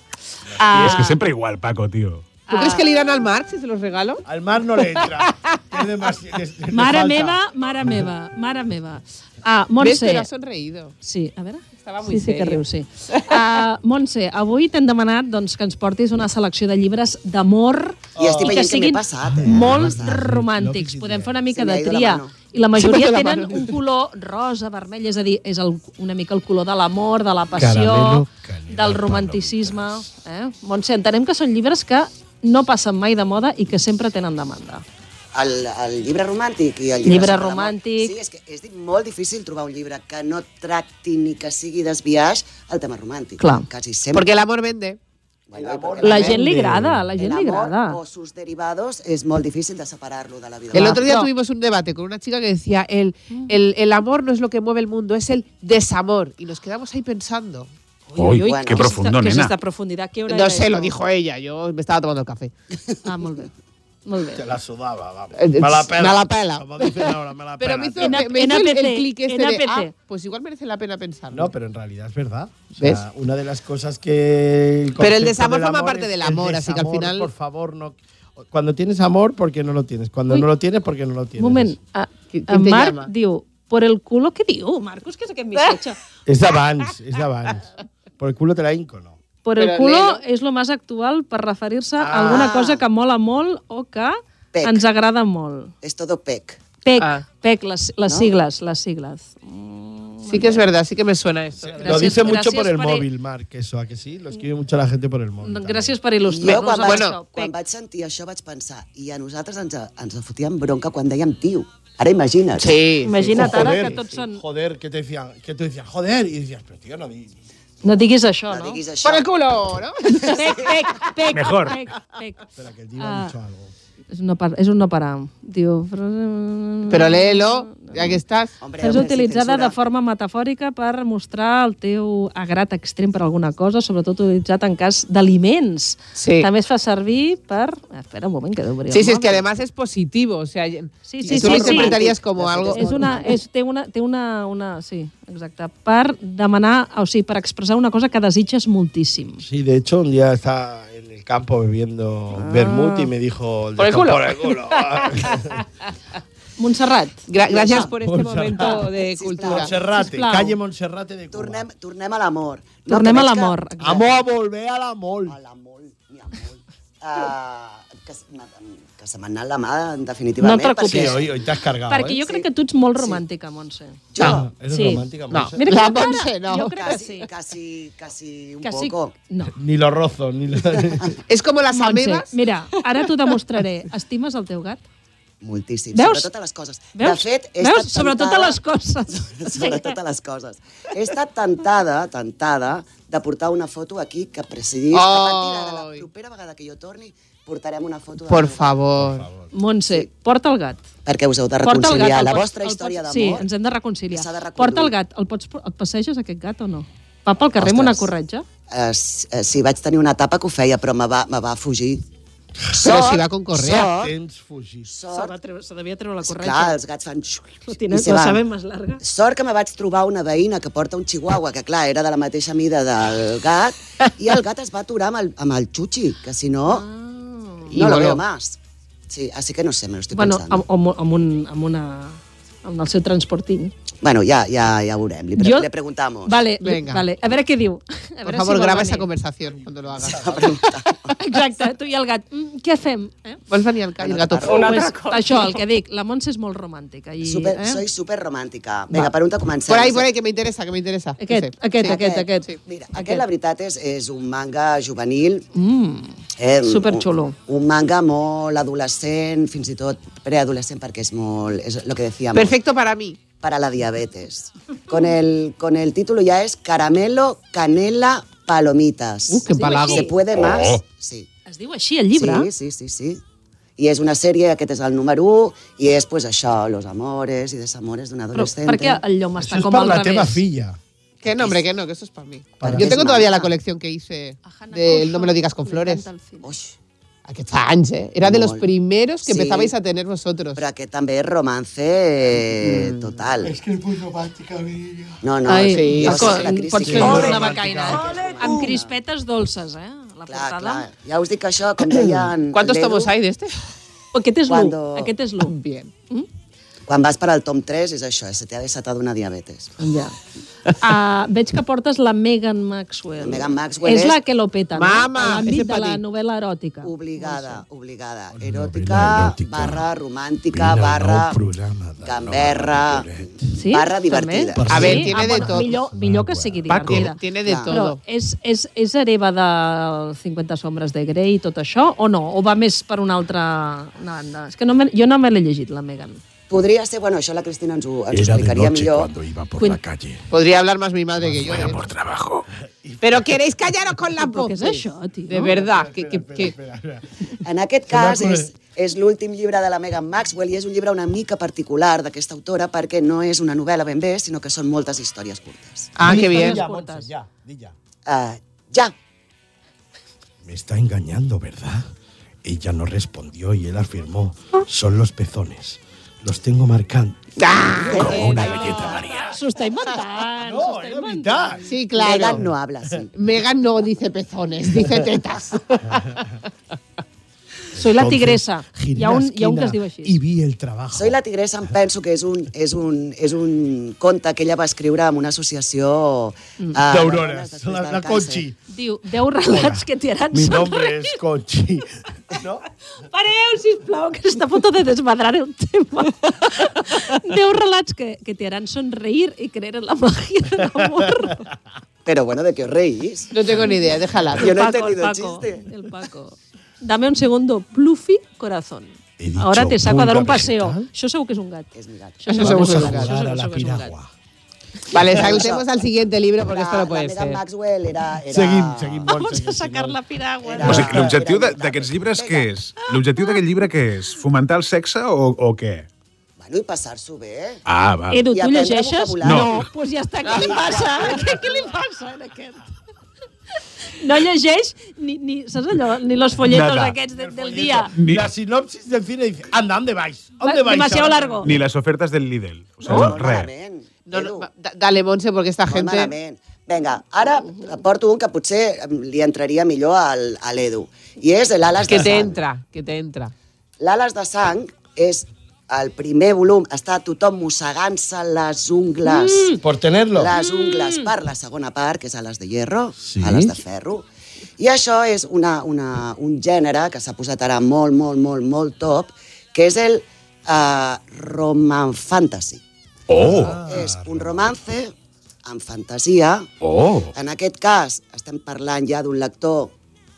Speaker 3: Ah,
Speaker 7: És que sempre igual, Paco, tio.
Speaker 6: ¿Tú crees que le irán al mar si se los regalo?
Speaker 5: Al mar no le entra. Es demasi- es- le
Speaker 3: Mare
Speaker 5: falta.
Speaker 3: meva, mare meva, mare meva. Ah, Montse.
Speaker 6: ¿Ves? Pero ha sonreído.
Speaker 3: Sí, a veure.
Speaker 6: Estava
Speaker 3: Sí,
Speaker 6: muy
Speaker 3: sí que
Speaker 6: serio.
Speaker 3: riu, sí. Uh, Montse, avui t'hem demanat doncs, que ens portis una selecció de llibres d'amor
Speaker 2: Oh. I estic
Speaker 3: que
Speaker 2: veient este que m'he
Speaker 3: siguin
Speaker 2: passat, eh?
Speaker 3: molt romàntics. Podem fer una mica
Speaker 2: Se me
Speaker 3: de
Speaker 2: ha ido la
Speaker 3: tria.
Speaker 2: mano.
Speaker 3: I
Speaker 2: Se
Speaker 3: la
Speaker 2: me ha
Speaker 3: majoria
Speaker 2: ido la
Speaker 3: tenen
Speaker 2: mano.
Speaker 3: un color rosa, vermell, és a dir, és el, una mica el color de l'amor, de la passió,
Speaker 15: Caramelo,
Speaker 3: del romanticisme. Eh? Montse, entenem que són llibres que no passen mai de moda i que sempre tenen demanda.
Speaker 2: El, el llibre romàntic i el llibre...
Speaker 3: Llibre
Speaker 2: sobre l'amor.
Speaker 3: romàntic...
Speaker 2: Sí, és que és di- molt difícil trobar un llibre que no tracti ni que sigui desviaix el tema romàntic.
Speaker 3: Clar.
Speaker 2: Quasi sempre.
Speaker 6: Porque el amor vende.
Speaker 3: La gent li agrada, la gent
Speaker 2: el
Speaker 3: li
Speaker 2: amor
Speaker 3: agrada.
Speaker 6: oh,
Speaker 2: o sus derivados es molt difícil de separar-lo de la vida.
Speaker 6: El otro día
Speaker 2: Ah. No.
Speaker 6: tuvimos un debate con una chica que decía, el, el, el amor no es lo que mueve el mundo, es el desamor. Y nos quedamos ahí pensando.
Speaker 7: Uy, uy, qué profundo,
Speaker 3: ¿Qué es
Speaker 7: nena.
Speaker 3: esta profundidad? ¿Qué hora
Speaker 6: No
Speaker 3: era
Speaker 6: sé,
Speaker 3: esto?
Speaker 6: lo dijo ella, yo me estaba tomando el café.
Speaker 3: Ah, molt bé. Molt bé.
Speaker 5: Te la sudaba, vamos.
Speaker 6: Eh,
Speaker 5: Me la pela.
Speaker 6: me la pela.
Speaker 5: Como dicen ahora, me la
Speaker 6: Pero
Speaker 5: pela.
Speaker 6: me hizo,
Speaker 5: tío.
Speaker 6: me- me hizo el,
Speaker 3: NPC,
Speaker 6: el clic este de,
Speaker 3: NPC.
Speaker 6: ah, pues igual merece la pena pensarlo.
Speaker 5: No, pero en realidad es verdad. O
Speaker 6: ¿Ves?
Speaker 5: sea, una de las cosas que. el
Speaker 6: Pero el
Speaker 5: concepto
Speaker 6: desamor
Speaker 5: del
Speaker 6: forma
Speaker 5: amor
Speaker 6: parte
Speaker 5: es
Speaker 6: del
Speaker 5: el
Speaker 6: amor, así que al
Speaker 5: desamor,
Speaker 6: final-
Speaker 5: Por favor, no. Cuando tienes amor, porque no lo tienes. Cuando
Speaker 3: Uy.
Speaker 5: no lo tienes, porque no lo tienes.
Speaker 3: Moment, a,
Speaker 6: qui
Speaker 3: en
Speaker 6: te
Speaker 3: Marc
Speaker 6: llama?
Speaker 3: diu, por el culo, què diu, Marcos? Què és aquest missatge?
Speaker 5: Es de Vans, es de Vans. Por el culo te la inco, ¿no?
Speaker 3: Por el
Speaker 5: Però
Speaker 3: culo és lo més actual per referir-se a
Speaker 5: Ah.
Speaker 3: alguna cosa que mola molt o que
Speaker 2: Pec.
Speaker 3: ens agrada molt.
Speaker 2: Es todo pec.
Speaker 3: PEC,
Speaker 2: Ah.
Speaker 3: PEC, les, les
Speaker 2: No?
Speaker 3: sigles, les sigles.
Speaker 6: Sí que es verdad, sí que me suena esto.
Speaker 5: lo
Speaker 3: Gracias-
Speaker 5: dice mucho
Speaker 3: gracias
Speaker 5: por el
Speaker 3: por-
Speaker 5: móvil, Mark, eso, ¿a que sí? Lo escribe mucho la gente por el móvil.
Speaker 3: Gràcies per
Speaker 2: Mm. Jo,
Speaker 3: il·lustrar-nos
Speaker 2: quan,
Speaker 3: amb
Speaker 2: vaig,
Speaker 3: això.
Speaker 2: bueno, quan vaig sentir això, vaig pensar, i a nosaltres ens, ens fotíem bronca quan dèiem tio. Ara imagina't.
Speaker 6: Sí.
Speaker 3: Imagina't ara
Speaker 5: Joder,
Speaker 3: que tots són...
Speaker 5: Joder, que te decían, que tú decías, joder, y decías, pero tío, no di.
Speaker 3: No diguis això, no?
Speaker 2: diguis això.
Speaker 6: Por el culo, ¿no?
Speaker 3: PEC, PEC, PEC.
Speaker 5: Mejor.
Speaker 3: PEC, PEC. Espera,
Speaker 5: que el
Speaker 3: diu ha dicho algo. És un no, par, és un no parar. Diu... Mm.
Speaker 6: Pero léelo, ya que estás.
Speaker 3: És utilitzada de forma metafòrica per mostrar el teu agrat extrem per alguna cosa, sobretot utilitzat en cas d'aliments.
Speaker 6: Sí.
Speaker 3: També es fa servir per... Espera un moment, que deu obrir
Speaker 6: Sí,
Speaker 3: el
Speaker 6: sí, es que
Speaker 3: mòbil.
Speaker 6: además es positivo. O sea,
Speaker 3: Sí, sí, sí,
Speaker 6: tú lo
Speaker 3: sí.
Speaker 6: interpretarías como algo.
Speaker 3: És una, és, té una, té una, una... Sí, exacte. Per demanar, o sigui, per expressar una cosa que desitges moltíssim.
Speaker 5: Sí, de hecho, un día estaba en el campo bebiendo
Speaker 3: Ah.
Speaker 5: vermut y me dijo.
Speaker 3: Por el
Speaker 5: de-
Speaker 3: culo.
Speaker 5: Por el culo.
Speaker 3: Montserrat.
Speaker 6: Gra- gracias
Speaker 2: Montserrat.
Speaker 6: por este momento de cultura.
Speaker 5: Monserrate,
Speaker 6: Sisplau.
Speaker 5: calle Monserrate de Cuba.
Speaker 2: Tornem, tornem a l'amor.
Speaker 3: Tornem
Speaker 2: que
Speaker 3: a
Speaker 2: veig que-
Speaker 3: l'amor, exacte.
Speaker 5: Vamos a volver a la mol.
Speaker 2: Ah, que, se m'ha- que se m'ha anat la mà, definitivament.
Speaker 3: No et preocupis.
Speaker 2: perquè-
Speaker 5: Sí, hoy, hoy te has cargado. ¿eh?
Speaker 3: Perquè jo crec que tu ets molt romàntica, Montse.
Speaker 2: Jo?
Speaker 5: Ah, eres romàntica, Montse?
Speaker 3: Mira que
Speaker 6: La
Speaker 3: jo encara-
Speaker 6: Montse, no.
Speaker 3: Jo crec que
Speaker 2: Casi,
Speaker 3: sí.
Speaker 2: casi, casi un
Speaker 3: Que sí.
Speaker 2: poco.
Speaker 3: No.
Speaker 5: Ni lo rozo, ni lo.
Speaker 6: Es como las
Speaker 3: Montse,
Speaker 6: amebas.
Speaker 3: mira, ara t'ho demostraré. Estimes el teu gat?
Speaker 2: Moltíssim,
Speaker 3: Veus?
Speaker 2: sobretot a les coses.
Speaker 3: Veus?
Speaker 2: De fet, he
Speaker 3: Veus?
Speaker 2: estat
Speaker 3: Sobretot a
Speaker 2: tentada-
Speaker 3: les coses.
Speaker 2: Sobretot a les coses. He estat tentada, tentada, de portar una foto aquí que presidís.
Speaker 6: Ai.
Speaker 2: Oh. A partir d'ara, la propera vegada que jo torni, portarem una foto. de
Speaker 6: Por
Speaker 2: la meva-
Speaker 6: favor.
Speaker 3: Montse, porta el gat.
Speaker 2: Perquè us heu de
Speaker 3: Porta el gat.
Speaker 2: reconciliar
Speaker 3: el
Speaker 2: la
Speaker 3: pots-
Speaker 2: vostra
Speaker 3: el
Speaker 2: història
Speaker 3: pots-
Speaker 2: d'amor.
Speaker 3: Sí, ens hem de reconciliar.
Speaker 2: s'ha de reconduir.
Speaker 3: porta el gat. El, pots, el passeges, aquest gat, o no? Va pel carrer amb una
Speaker 2: Ostres.
Speaker 3: corretja?
Speaker 2: Eh, s- eh, sí, vaig tenir una etapa que ho feia, però me va, me va fugir.
Speaker 6: Però si va con correa.
Speaker 2: Sort,
Speaker 5: Tens fugit.
Speaker 3: Se, va treure, se devia treure la corretja.
Speaker 2: clar, els gats fan...
Speaker 3: Lo tienes,
Speaker 2: i se
Speaker 3: lo
Speaker 2: van.
Speaker 3: saben más larga.
Speaker 2: Sort que me vaig trobar una veïna que porta un chihuahua, que clar, era de la mateixa mida del gat, i el gat es va aturar amb el, amb el xuxi, que si no, ah,
Speaker 6: I
Speaker 2: no lo
Speaker 6: voló.
Speaker 2: veo más. Sí, así que no sé, me lo estoy
Speaker 3: Bueno,
Speaker 2: pensando.
Speaker 3: amb, amb, amb, un, amb una amb el seu transporting.
Speaker 2: Bueno, ja, ja, ja ho veurem, li, pre
Speaker 3: Jo-
Speaker 2: jo... li preguntamos.
Speaker 3: Vale,
Speaker 6: Venga.
Speaker 3: vale. A veure què diu. A
Speaker 6: Por
Speaker 3: veure
Speaker 6: favor,
Speaker 3: vol
Speaker 6: graba
Speaker 3: venir.
Speaker 6: esa conversación cuando lo hagas.
Speaker 3: Exacte, tu i el gat. Mm, què fem? Eh?
Speaker 6: Vols venir al el gato
Speaker 3: Una pues, això, el que dic, la Montse és molt romàntica. I,
Speaker 2: Super,
Speaker 3: eh?
Speaker 2: Soy súper romàntica. Vinga, per on te comencem?
Speaker 6: Por ahí, por ahí, que me interesa, que me interesa.
Speaker 3: Aquest,
Speaker 6: Sí, sí.
Speaker 3: aquest,
Speaker 6: Sí.
Speaker 3: aquest, aquest.
Speaker 2: Mira, aquest, la veritat, és, és un manga juvenil.
Speaker 3: Mm.
Speaker 2: Eh, un-
Speaker 3: Superxulo.
Speaker 2: Un, un manga molt adolescent, fins i tot preadolescent, perquè és molt... És el que decíamos.
Speaker 6: Perfecto para mí.
Speaker 2: Para la diabetes. Con el, con el título ya es Caramelo, Canela, Palomitas.
Speaker 6: Uh, qué empalago.
Speaker 2: ¿Se puede
Speaker 6: Oh.
Speaker 2: más? Sí.
Speaker 3: Es diu així, el llibre?
Speaker 2: Sí, sí, sí, sí. I és una sèrie, aquest és el número 1, i és pues, això, los amores i desamores d'un
Speaker 3: Però
Speaker 2: adolescent.
Speaker 3: per què el llom està
Speaker 5: Eso es
Speaker 3: com
Speaker 5: para
Speaker 3: al
Speaker 5: la tema
Speaker 3: revés?
Speaker 5: filla.
Speaker 6: Que no, hombre, que no, que esto es para mí.
Speaker 2: Para
Speaker 6: Yo
Speaker 2: mí.
Speaker 6: tengo todavía la
Speaker 2: Manga.
Speaker 6: colección que hice de No me lo digas con flores.
Speaker 2: Oix,
Speaker 6: Aquest fa anys, eh? Era de los
Speaker 2: Molt.
Speaker 6: primeros que
Speaker 2: Sí.
Speaker 6: empezabais a tener vosotros.
Speaker 2: però aquest també és romance eh, total.
Speaker 5: que es muy romántica, mi niña.
Speaker 2: No, no,
Speaker 6: Ai,
Speaker 2: sí,
Speaker 6: sí.
Speaker 2: jo
Speaker 6: Paco,
Speaker 2: sé que la crisi...
Speaker 3: Pots fer
Speaker 2: No,
Speaker 3: una becaina. eh? Amb crispetes dolces, eh? la
Speaker 2: Clar,
Speaker 3: portada.
Speaker 2: clar. Ja us dic que això, com deien...
Speaker 6: ¿Cuántos
Speaker 2: l'Edu,
Speaker 6: tomos hay de este?
Speaker 3: Aquest és
Speaker 2: Cuando-
Speaker 3: l'1. Aquest és l'1.
Speaker 6: Bien.
Speaker 2: Quan vas per al tom 3 és això, eh? se t'ha desatat una diabetes.
Speaker 3: Ja. Uh, veig que portes la Megan Maxwell.
Speaker 2: La Meghan Maxwell
Speaker 3: és...
Speaker 2: és-
Speaker 3: la que lo peta,
Speaker 2: Mama,
Speaker 3: no?
Speaker 2: ese
Speaker 3: L'àmbit de
Speaker 2: pa
Speaker 3: la
Speaker 2: ti.
Speaker 3: novel·la eròtica.
Speaker 2: Obligada, obligada. Eròtica, barra
Speaker 15: Vine
Speaker 2: romàntica,
Speaker 15: al
Speaker 2: barra
Speaker 15: nou programa de
Speaker 2: gamberra,
Speaker 3: Sí?
Speaker 2: barra
Speaker 3: També?
Speaker 2: divertida.
Speaker 3: A ver, Sí? tiene Ah, de bueno, todo. millor- millor que sigui
Speaker 6: Paco.
Speaker 3: divertida.
Speaker 6: Tiene- tiene de
Speaker 3: Però
Speaker 6: todo.
Speaker 3: és, és, és hereva de 50 sombres de Grey i tot això, o no? O va més per una altra una banda? És que no me, jo no me l'he llegit, la Megan.
Speaker 2: Podria ser, bueno, això la Cristina ens ho, ens
Speaker 15: Era
Speaker 2: ho
Speaker 15: de
Speaker 2: explicaria
Speaker 15: noche
Speaker 2: millor.
Speaker 15: cuando iba por
Speaker 2: Quin-
Speaker 15: la calle.
Speaker 6: Podría hablar más mi madre que yo. ¿eh?
Speaker 15: Por trabajo.
Speaker 6: Pero queréis callaros con las
Speaker 3: ¿Pero qué es
Speaker 6: voces.
Speaker 3: eso, tío?
Speaker 6: De verdad. que- que- que-
Speaker 2: En aquest
Speaker 6: m'ha
Speaker 2: cas
Speaker 6: acudat.
Speaker 2: és, és l'últim llibre de la Megan Maxwell i és un llibre una mica particular d'aquesta autora perquè no és una novel·la ben bé, sinó que són moltes històries curtes.
Speaker 6: Ah, qué bien.
Speaker 5: Ya, Montse, ya, di ya.
Speaker 2: Uh, ja,
Speaker 15: Me está engañando, ¿verdad? Ella no respondió y él afirmó, son los pezones. Los tengo marcando. Como una galleta María.
Speaker 3: S'ho està inventant,
Speaker 5: Oh,
Speaker 3: s'ho està inventant.
Speaker 6: Sí, claro.
Speaker 2: Megan no habla así.
Speaker 6: Megan no dice pezones, dice tetas.
Speaker 3: Soy la
Speaker 15: Entonces,
Speaker 3: tigresa.
Speaker 15: giré
Speaker 3: Hi ha
Speaker 15: la
Speaker 3: un, hi ha un que
Speaker 15: esquina
Speaker 3: es diu així.
Speaker 15: Y vi el trabajo.
Speaker 2: Soy la tigresa, em penso que és un, és un, és un conte que ella va escriure amb una associació...
Speaker 6: Mm.
Speaker 2: Uh,
Speaker 5: D'aurores, la, la Conchi.
Speaker 3: Diu 10 relats que t'hi haran
Speaker 5: Mi
Speaker 3: sobre...
Speaker 5: nombre es Conchi.
Speaker 3: Pareu, sisplau, que està a punt de desmadrar el tema. 10 relats que, que t'hi haran sonreír i creer en la màgia de l'amor.
Speaker 2: Pero bueno, ¿de qué os reís?
Speaker 6: No tengo ni idea, déjala.
Speaker 2: Yo no he
Speaker 3: Paco, el
Speaker 2: entendido el
Speaker 3: Paco,
Speaker 2: chiste.
Speaker 3: El Paco. Dame un segundo. Pluffy corazón. Ahora te saco a dar un paseo. Això segur que és un gat. És
Speaker 2: mi gat.
Speaker 3: Això segur que és un gat. Això segur que és un gat.
Speaker 6: Vale, saltemos al siguiente libro porque esto no puede
Speaker 2: La Megan
Speaker 6: ser.
Speaker 2: Maxwell era... era
Speaker 5: Seguim, seguim.
Speaker 3: Vamos a sacar la piragua.
Speaker 7: O sigui, l'objectiu de- d'aquests llibres què és? L'objectiu d'aquest llibre què és? Fomentar el sexe o, o què?
Speaker 2: Bueno, i passar-s'ho bé.
Speaker 7: Ah, va.
Speaker 3: Edu,
Speaker 2: I
Speaker 3: tu
Speaker 2: aprendre
Speaker 3: llegeixes?
Speaker 2: vocabulari.
Speaker 7: No.
Speaker 3: Doncs pues ja està. Què li passa? Què, què li passa en aquest? No llegeix ni, ni, saps allò, ni los folletos
Speaker 7: Nada.
Speaker 3: aquests de, del dia.
Speaker 5: La sinopsis del cine dice, anda, ¿dónde vais? ¿Dónde vais?
Speaker 3: Demasiado
Speaker 5: ahora?
Speaker 3: largo.
Speaker 7: Ni les ofertes del Lidl. O sigui, no, res.
Speaker 2: eh?
Speaker 6: No, no, va, da- dale, Monse, porque esta
Speaker 2: Molt
Speaker 6: gente...
Speaker 2: malament. Vinga, ara porto un que potser li entraria millor al, a l'Edu. I és l'Ales
Speaker 6: Que
Speaker 2: de
Speaker 6: te
Speaker 2: Sang.
Speaker 6: entra, que te entra.
Speaker 2: L'Ales de Sang és el primer volum. Està tothom mossegant-se les ungles.
Speaker 5: Por tenerlo.
Speaker 2: Les ungles per la segona part, que és Ales de Hierro, sí? Ales de Ferro. I això és una, una, un gènere que s'ha posat ara molt, molt, molt, molt top, que és el uh, roman fantasy.
Speaker 7: Oh!
Speaker 2: és un romance amb fantasia.
Speaker 7: Oh!
Speaker 2: En aquest cas, estem parlant ja d'un lector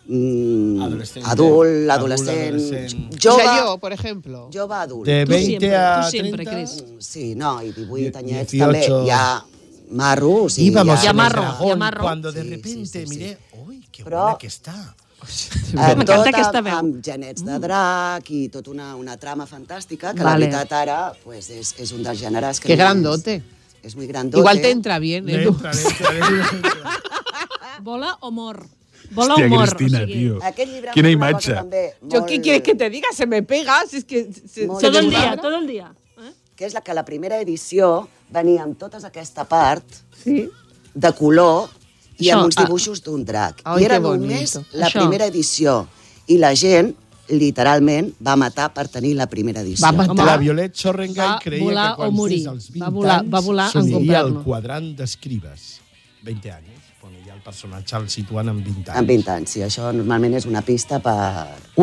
Speaker 2: mm,
Speaker 5: Adolescente.
Speaker 2: adult, adolescent,
Speaker 5: Adult, adolescent.
Speaker 6: O
Speaker 2: jove,
Speaker 6: sea, yo, por ejemplo.
Speaker 2: jove adult.
Speaker 5: De
Speaker 3: Tu
Speaker 5: 20
Speaker 3: sempre,
Speaker 5: a
Speaker 3: tu sempre,
Speaker 5: 30.
Speaker 3: Cris.
Speaker 2: Sí, no, i 18 anyets
Speaker 5: 18.
Speaker 2: també. Ja marro, o sigui,
Speaker 5: Íbamos
Speaker 2: ja...
Speaker 5: a
Speaker 3: amarro,
Speaker 5: Dragón
Speaker 3: y amarro.
Speaker 5: cuando de
Speaker 2: Sí,
Speaker 5: repente
Speaker 2: sí, sí, sí.
Speaker 5: miré, uy, qué
Speaker 2: Pero-
Speaker 5: buena que está.
Speaker 2: eh,
Speaker 3: M'encanta
Speaker 2: tot
Speaker 3: aquesta
Speaker 2: amb,
Speaker 3: veu.
Speaker 2: amb genets de drac i tota una, una trama fantàstica que
Speaker 3: Vale.
Speaker 2: la veritat ara pues, és, és un dels gèneres que...
Speaker 6: Qué
Speaker 2: més-
Speaker 6: grandote.
Speaker 2: És muy grandote.
Speaker 6: Igual te entra bien,
Speaker 5: Le
Speaker 6: ¿eh?
Speaker 5: entra, le entra, le entra.
Speaker 3: Vola o mor. Vola
Speaker 7: Hòstia,
Speaker 3: o mor.
Speaker 7: Cristina,
Speaker 3: o sigui,
Speaker 7: tio.
Speaker 2: Aquest llibre...
Speaker 7: Quina
Speaker 2: fa una cosa
Speaker 7: imatge.
Speaker 2: També, molt...
Speaker 6: Yo, ¿qué quieres que te diga? Se me pega, si es que... se-
Speaker 2: Molt
Speaker 6: se
Speaker 3: Tot el
Speaker 6: desmadra.
Speaker 3: dia, tot el dia. Eh?
Speaker 2: que és la que la primera edició venia amb tota aquesta part
Speaker 6: Sí.
Speaker 2: de color i
Speaker 3: Això,
Speaker 2: amb uns
Speaker 3: ah.
Speaker 2: dibuixos d'un drac.
Speaker 6: Ai,
Speaker 2: I era
Speaker 6: que bonito.
Speaker 2: només la
Speaker 3: Això.
Speaker 2: primera edició. I la gent, literalment, va matar per tenir la primera edició.
Speaker 6: Va matar.
Speaker 5: La Violet Sorrengai
Speaker 3: Va
Speaker 5: creia
Speaker 3: volar
Speaker 5: que quan
Speaker 3: o morir.
Speaker 5: fes els 20
Speaker 3: Va volar-
Speaker 5: anys
Speaker 3: va volar en
Speaker 5: s'uniria al
Speaker 3: comprar-lo.
Speaker 5: quadrant d'escribes. 20 anys, quan ja el personatge el situen en 20 anys.
Speaker 2: En 20 anys, sí. Això normalment és una pista per...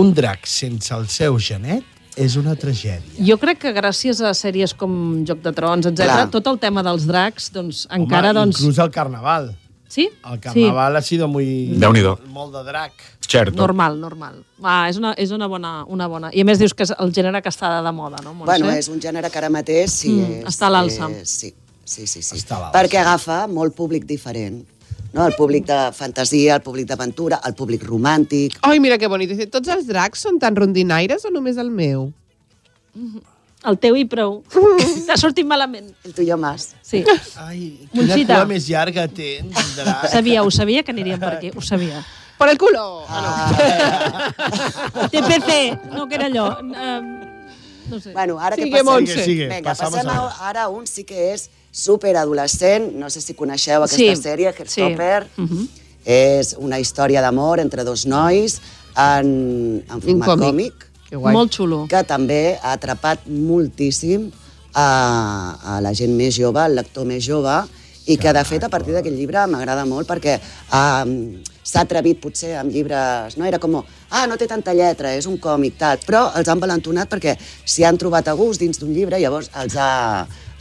Speaker 5: Un drac sense el seu genet és una tragèdia.
Speaker 3: Jo crec que gràcies a sèries com Joc de Trons, etc,
Speaker 2: Clar.
Speaker 3: tot el tema dels dracs, doncs, encara,
Speaker 5: Home,
Speaker 3: doncs...
Speaker 5: Inclús el carnaval.
Speaker 3: Sí?
Speaker 5: El carnaval ha sido muy...
Speaker 7: Déu-n'hi-do.
Speaker 5: Molt de drac.
Speaker 7: Certo.
Speaker 3: Normal, normal. Ah, és una, és una, bona, una bona... I a més dius que és el gènere que està de moda, no, Montse?
Speaker 2: Bueno, és un gènere que ara mateix sí,
Speaker 3: Mm,
Speaker 2: és,
Speaker 3: està a l'alça.
Speaker 2: eh, Sí, sí, sí. sí.
Speaker 5: Està a l'alça.
Speaker 2: Perquè agafa molt públic diferent. No? El públic de fantasia, el públic d'aventura, el públic romàntic...
Speaker 6: Ai, mira que bonic. Dice, tots els dracs són tan rondinaires o només el meu?
Speaker 3: El teu i prou. T'ha sortit malament.
Speaker 2: El tuyo más.
Speaker 3: Sí.
Speaker 5: Ai, quina
Speaker 3: Montsita.
Speaker 5: cua més llarga tens, drac.
Speaker 3: Sabia, ho sabia que aniríem per aquí, ho sabia.
Speaker 6: Por el culo! Ah,
Speaker 3: TPC, no que era allò. Eh, no sé.
Speaker 2: Bueno, ara
Speaker 6: Sigue,
Speaker 2: què passem?
Speaker 6: Montse. Sigue,
Speaker 5: sigue.
Speaker 2: Vinga,
Speaker 5: Passamos
Speaker 2: passem a,
Speaker 5: ahora.
Speaker 2: ara a un sí que és superadolescent. No sé si coneixeu aquesta
Speaker 3: Sí,
Speaker 2: sèrie,
Speaker 3: sí.
Speaker 2: Heartstopper.
Speaker 3: Mhm.
Speaker 2: És una història d'amor entre dos nois en, en format
Speaker 3: còmic.
Speaker 2: còmic.
Speaker 3: Que guai. Molt
Speaker 2: xulo. Que també ha atrapat moltíssim a, a la gent més jove, al lector més jove, i que, de fet, a partir d'aquest llibre m'agrada molt perquè um, s'ha atrevit, potser, amb llibres... No era com, ah, no té tanta lletra, és un còmic, tal. Però els han valentonat perquè s'hi han trobat a gust dins d'un llibre, llavors els ha,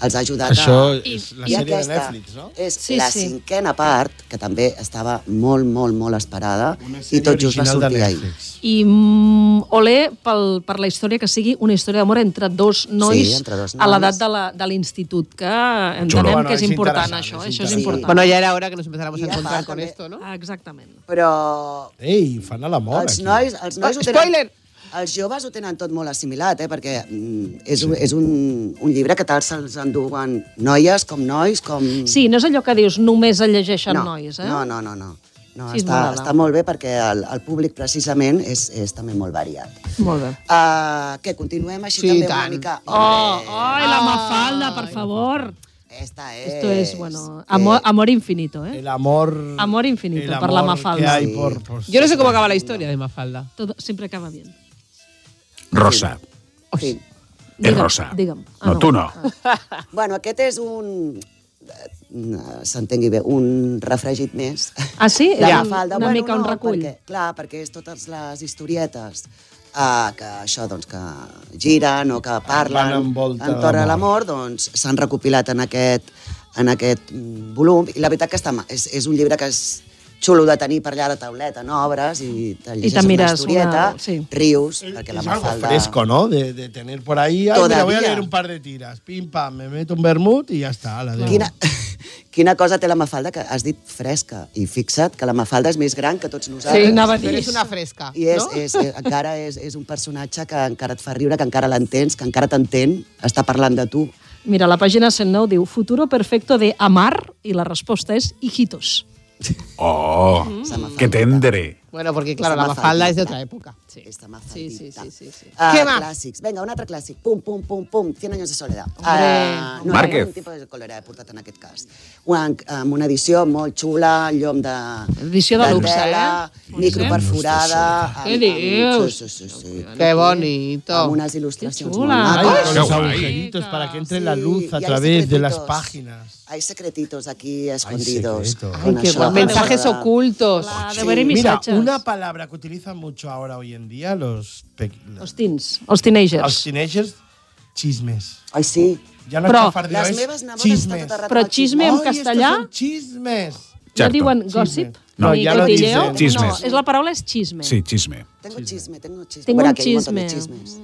Speaker 2: els ha ajudat a...
Speaker 5: Això és la
Speaker 2: I
Speaker 5: sèrie de
Speaker 2: aquesta
Speaker 5: Netflix, no?
Speaker 2: És
Speaker 5: Sí,
Speaker 2: la
Speaker 5: sí.
Speaker 2: cinquena part, que també estava molt, molt, molt esperada, i tot just va
Speaker 5: original de
Speaker 2: sortir ahir.
Speaker 3: I mm, olé pel, per la història que sigui una història d'amor entre dos nois,
Speaker 2: Sí, entre dos
Speaker 3: a
Speaker 2: nois.
Speaker 3: l'edat de la- de l'institut, que entenem
Speaker 2: Bueno,
Speaker 3: que és
Speaker 2: és
Speaker 3: important
Speaker 2: interessant,
Speaker 3: això,
Speaker 2: és
Speaker 3: això és
Speaker 2: interessant.
Speaker 3: important.
Speaker 6: Bueno, ya era hora que nos empezáramos a encontrar
Speaker 2: aparte
Speaker 6: con esto, ¿no?
Speaker 3: Exactament.
Speaker 2: Però
Speaker 5: Ei, fan a l'amor,
Speaker 2: els
Speaker 5: aquí.
Speaker 2: nois, els nois
Speaker 5: Oh,
Speaker 2: ho tenen... Spoiler! Els joves ho tenen tot molt assimilat, eh? perquè mm, és, un, és un, un llibre que tal se'ls enduen noies com nois, com...
Speaker 3: Sí, no és allò que dius, només el llegeixen
Speaker 2: No,
Speaker 3: nois, eh?
Speaker 2: no, no, no, no. No,
Speaker 3: Sí, és
Speaker 2: està,
Speaker 3: molt
Speaker 2: està molt bé perquè el, el públic precisament és, és també molt variat.
Speaker 3: Molt bé.
Speaker 2: Uh, que continuem així
Speaker 3: Sí,
Speaker 2: també
Speaker 3: tant.
Speaker 2: una mica...
Speaker 3: Oh, ai,
Speaker 2: Ah.
Speaker 3: la Mafalda, per favor.
Speaker 2: Eh, Esta es...
Speaker 3: Esto es, bueno, amor, amor infinito, eh?
Speaker 5: El amor...
Speaker 3: Amor infinito,
Speaker 5: el
Speaker 3: per la
Speaker 5: amor
Speaker 3: Mafalda.
Speaker 5: que hay por- por-
Speaker 6: Yo no sé cómo acaba la historia de Mafalda.
Speaker 3: Todo, siempre acaba bien.
Speaker 7: Rosa. És rosa.
Speaker 3: Digue'm.
Speaker 7: No, tu no.
Speaker 3: Ah.
Speaker 2: Bueno, aquest és un... eh, S'entengui bé, un refregit més.
Speaker 3: Ah, sí?
Speaker 2: La
Speaker 3: Ja.
Speaker 2: Mafalda.
Speaker 3: Una mica un
Speaker 2: no,
Speaker 3: recull.
Speaker 2: Perquè, clar, perquè és totes les historietes eh, que això, doncs, que giren o que parlen
Speaker 5: en volta
Speaker 2: entorn
Speaker 5: de
Speaker 2: a l'amor, doncs s'han recopilat en aquest, en aquest mm, volum. I la veritat que està, ma- és, és un llibre que és xulo de tenir per allà a la tauleta, no? Obres i te
Speaker 3: I
Speaker 2: llegeixes
Speaker 3: te
Speaker 2: una
Speaker 3: mires
Speaker 2: historieta,
Speaker 3: una... Sí.
Speaker 2: rius, perquè la
Speaker 5: Es algo
Speaker 2: Mafalda...
Speaker 5: fresco, ¿no? De, de tener por ahí. Ay, mira, voy a
Speaker 2: Todavía.
Speaker 5: leer un par de tiras. Pim, pam, me meto un vermut y ya está. La dejo.
Speaker 2: Quina, quina cosa té la Mafalda que has dit fresca. I fixa't que la Mafalda és més gran que tots nosaltres.
Speaker 6: Pero es una fresca.
Speaker 2: I és,
Speaker 6: ¿no?
Speaker 2: és, és, encara és, és un personatge que encara et fa riure, que encara l'entens, que encara t'entén, està parlant de tu.
Speaker 3: Mira, la pàgina 109 diu futuro perfecto de amar i la resposta és hijitos.
Speaker 7: Oh,
Speaker 2: Mm.
Speaker 7: que tendre.
Speaker 6: Bueno, porque claro, la Mafalda es de otra época.
Speaker 2: Sí. Esta
Speaker 6: Sí,
Speaker 2: Mafaldita.
Speaker 6: sí, sí. sí, sí.
Speaker 2: Ah,
Speaker 6: ¿Qué más?
Speaker 2: Clàssics. Vinga, un altre clàssic. Pum, pum, pum, pum. 100 anys de soledat. Ah,
Speaker 6: Hombre.
Speaker 2: no
Speaker 6: Márquez.
Speaker 2: hi ha un tipus de colera portat en aquest cas. Una, amb una edició molt xula, llom de...
Speaker 3: Edició de luxe,
Speaker 2: tela, Microperforada.
Speaker 6: eh? Què
Speaker 2: amb- amb-
Speaker 6: dius?
Speaker 2: Sí, sí, sí, sí.
Speaker 6: Qué bonito.
Speaker 2: Amb unes il·lustracions molt
Speaker 5: Ay,
Speaker 2: maques.
Speaker 5: con los agujeritos para que entre la luz
Speaker 2: y
Speaker 5: a
Speaker 2: hay
Speaker 5: través de las
Speaker 2: secretitos.
Speaker 5: páginas.
Speaker 2: Hay secretitos aquí escondidos.
Speaker 5: secretos.
Speaker 2: Con
Speaker 6: Ay, qué
Speaker 2: això,
Speaker 6: guapo. Mensajes
Speaker 2: de verdad.
Speaker 6: ocultos.
Speaker 2: Ah, Sí. Mira,
Speaker 5: Mira, una palabra que utilizan mucho ahora hoy en día los, pe-
Speaker 3: Els teens, els teenagers.
Speaker 5: los teenagers, chismes.
Speaker 2: Ay, sí.
Speaker 5: Ya no
Speaker 3: Però-
Speaker 5: chafardeo,
Speaker 3: Las
Speaker 5: es
Speaker 3: meves nebodes
Speaker 5: chismes.
Speaker 2: tota
Speaker 3: estan tot el rato Però al xisme en
Speaker 5: Ay, estos
Speaker 3: castellà?
Speaker 5: son chismes.
Speaker 3: No
Speaker 7: Xerto.
Speaker 3: diuen gossip?
Speaker 7: No,
Speaker 3: ni
Speaker 7: ja lo
Speaker 3: cotilleo?
Speaker 7: dicen. Chismes.
Speaker 3: No, és la paraula és chisme.
Speaker 7: Sí, xisme.
Speaker 2: Tengo chisme, tengo chisme.
Speaker 3: Tengo
Speaker 2: Bueno,
Speaker 3: un
Speaker 2: aquí hay montón de
Speaker 3: chisme.
Speaker 2: chismes.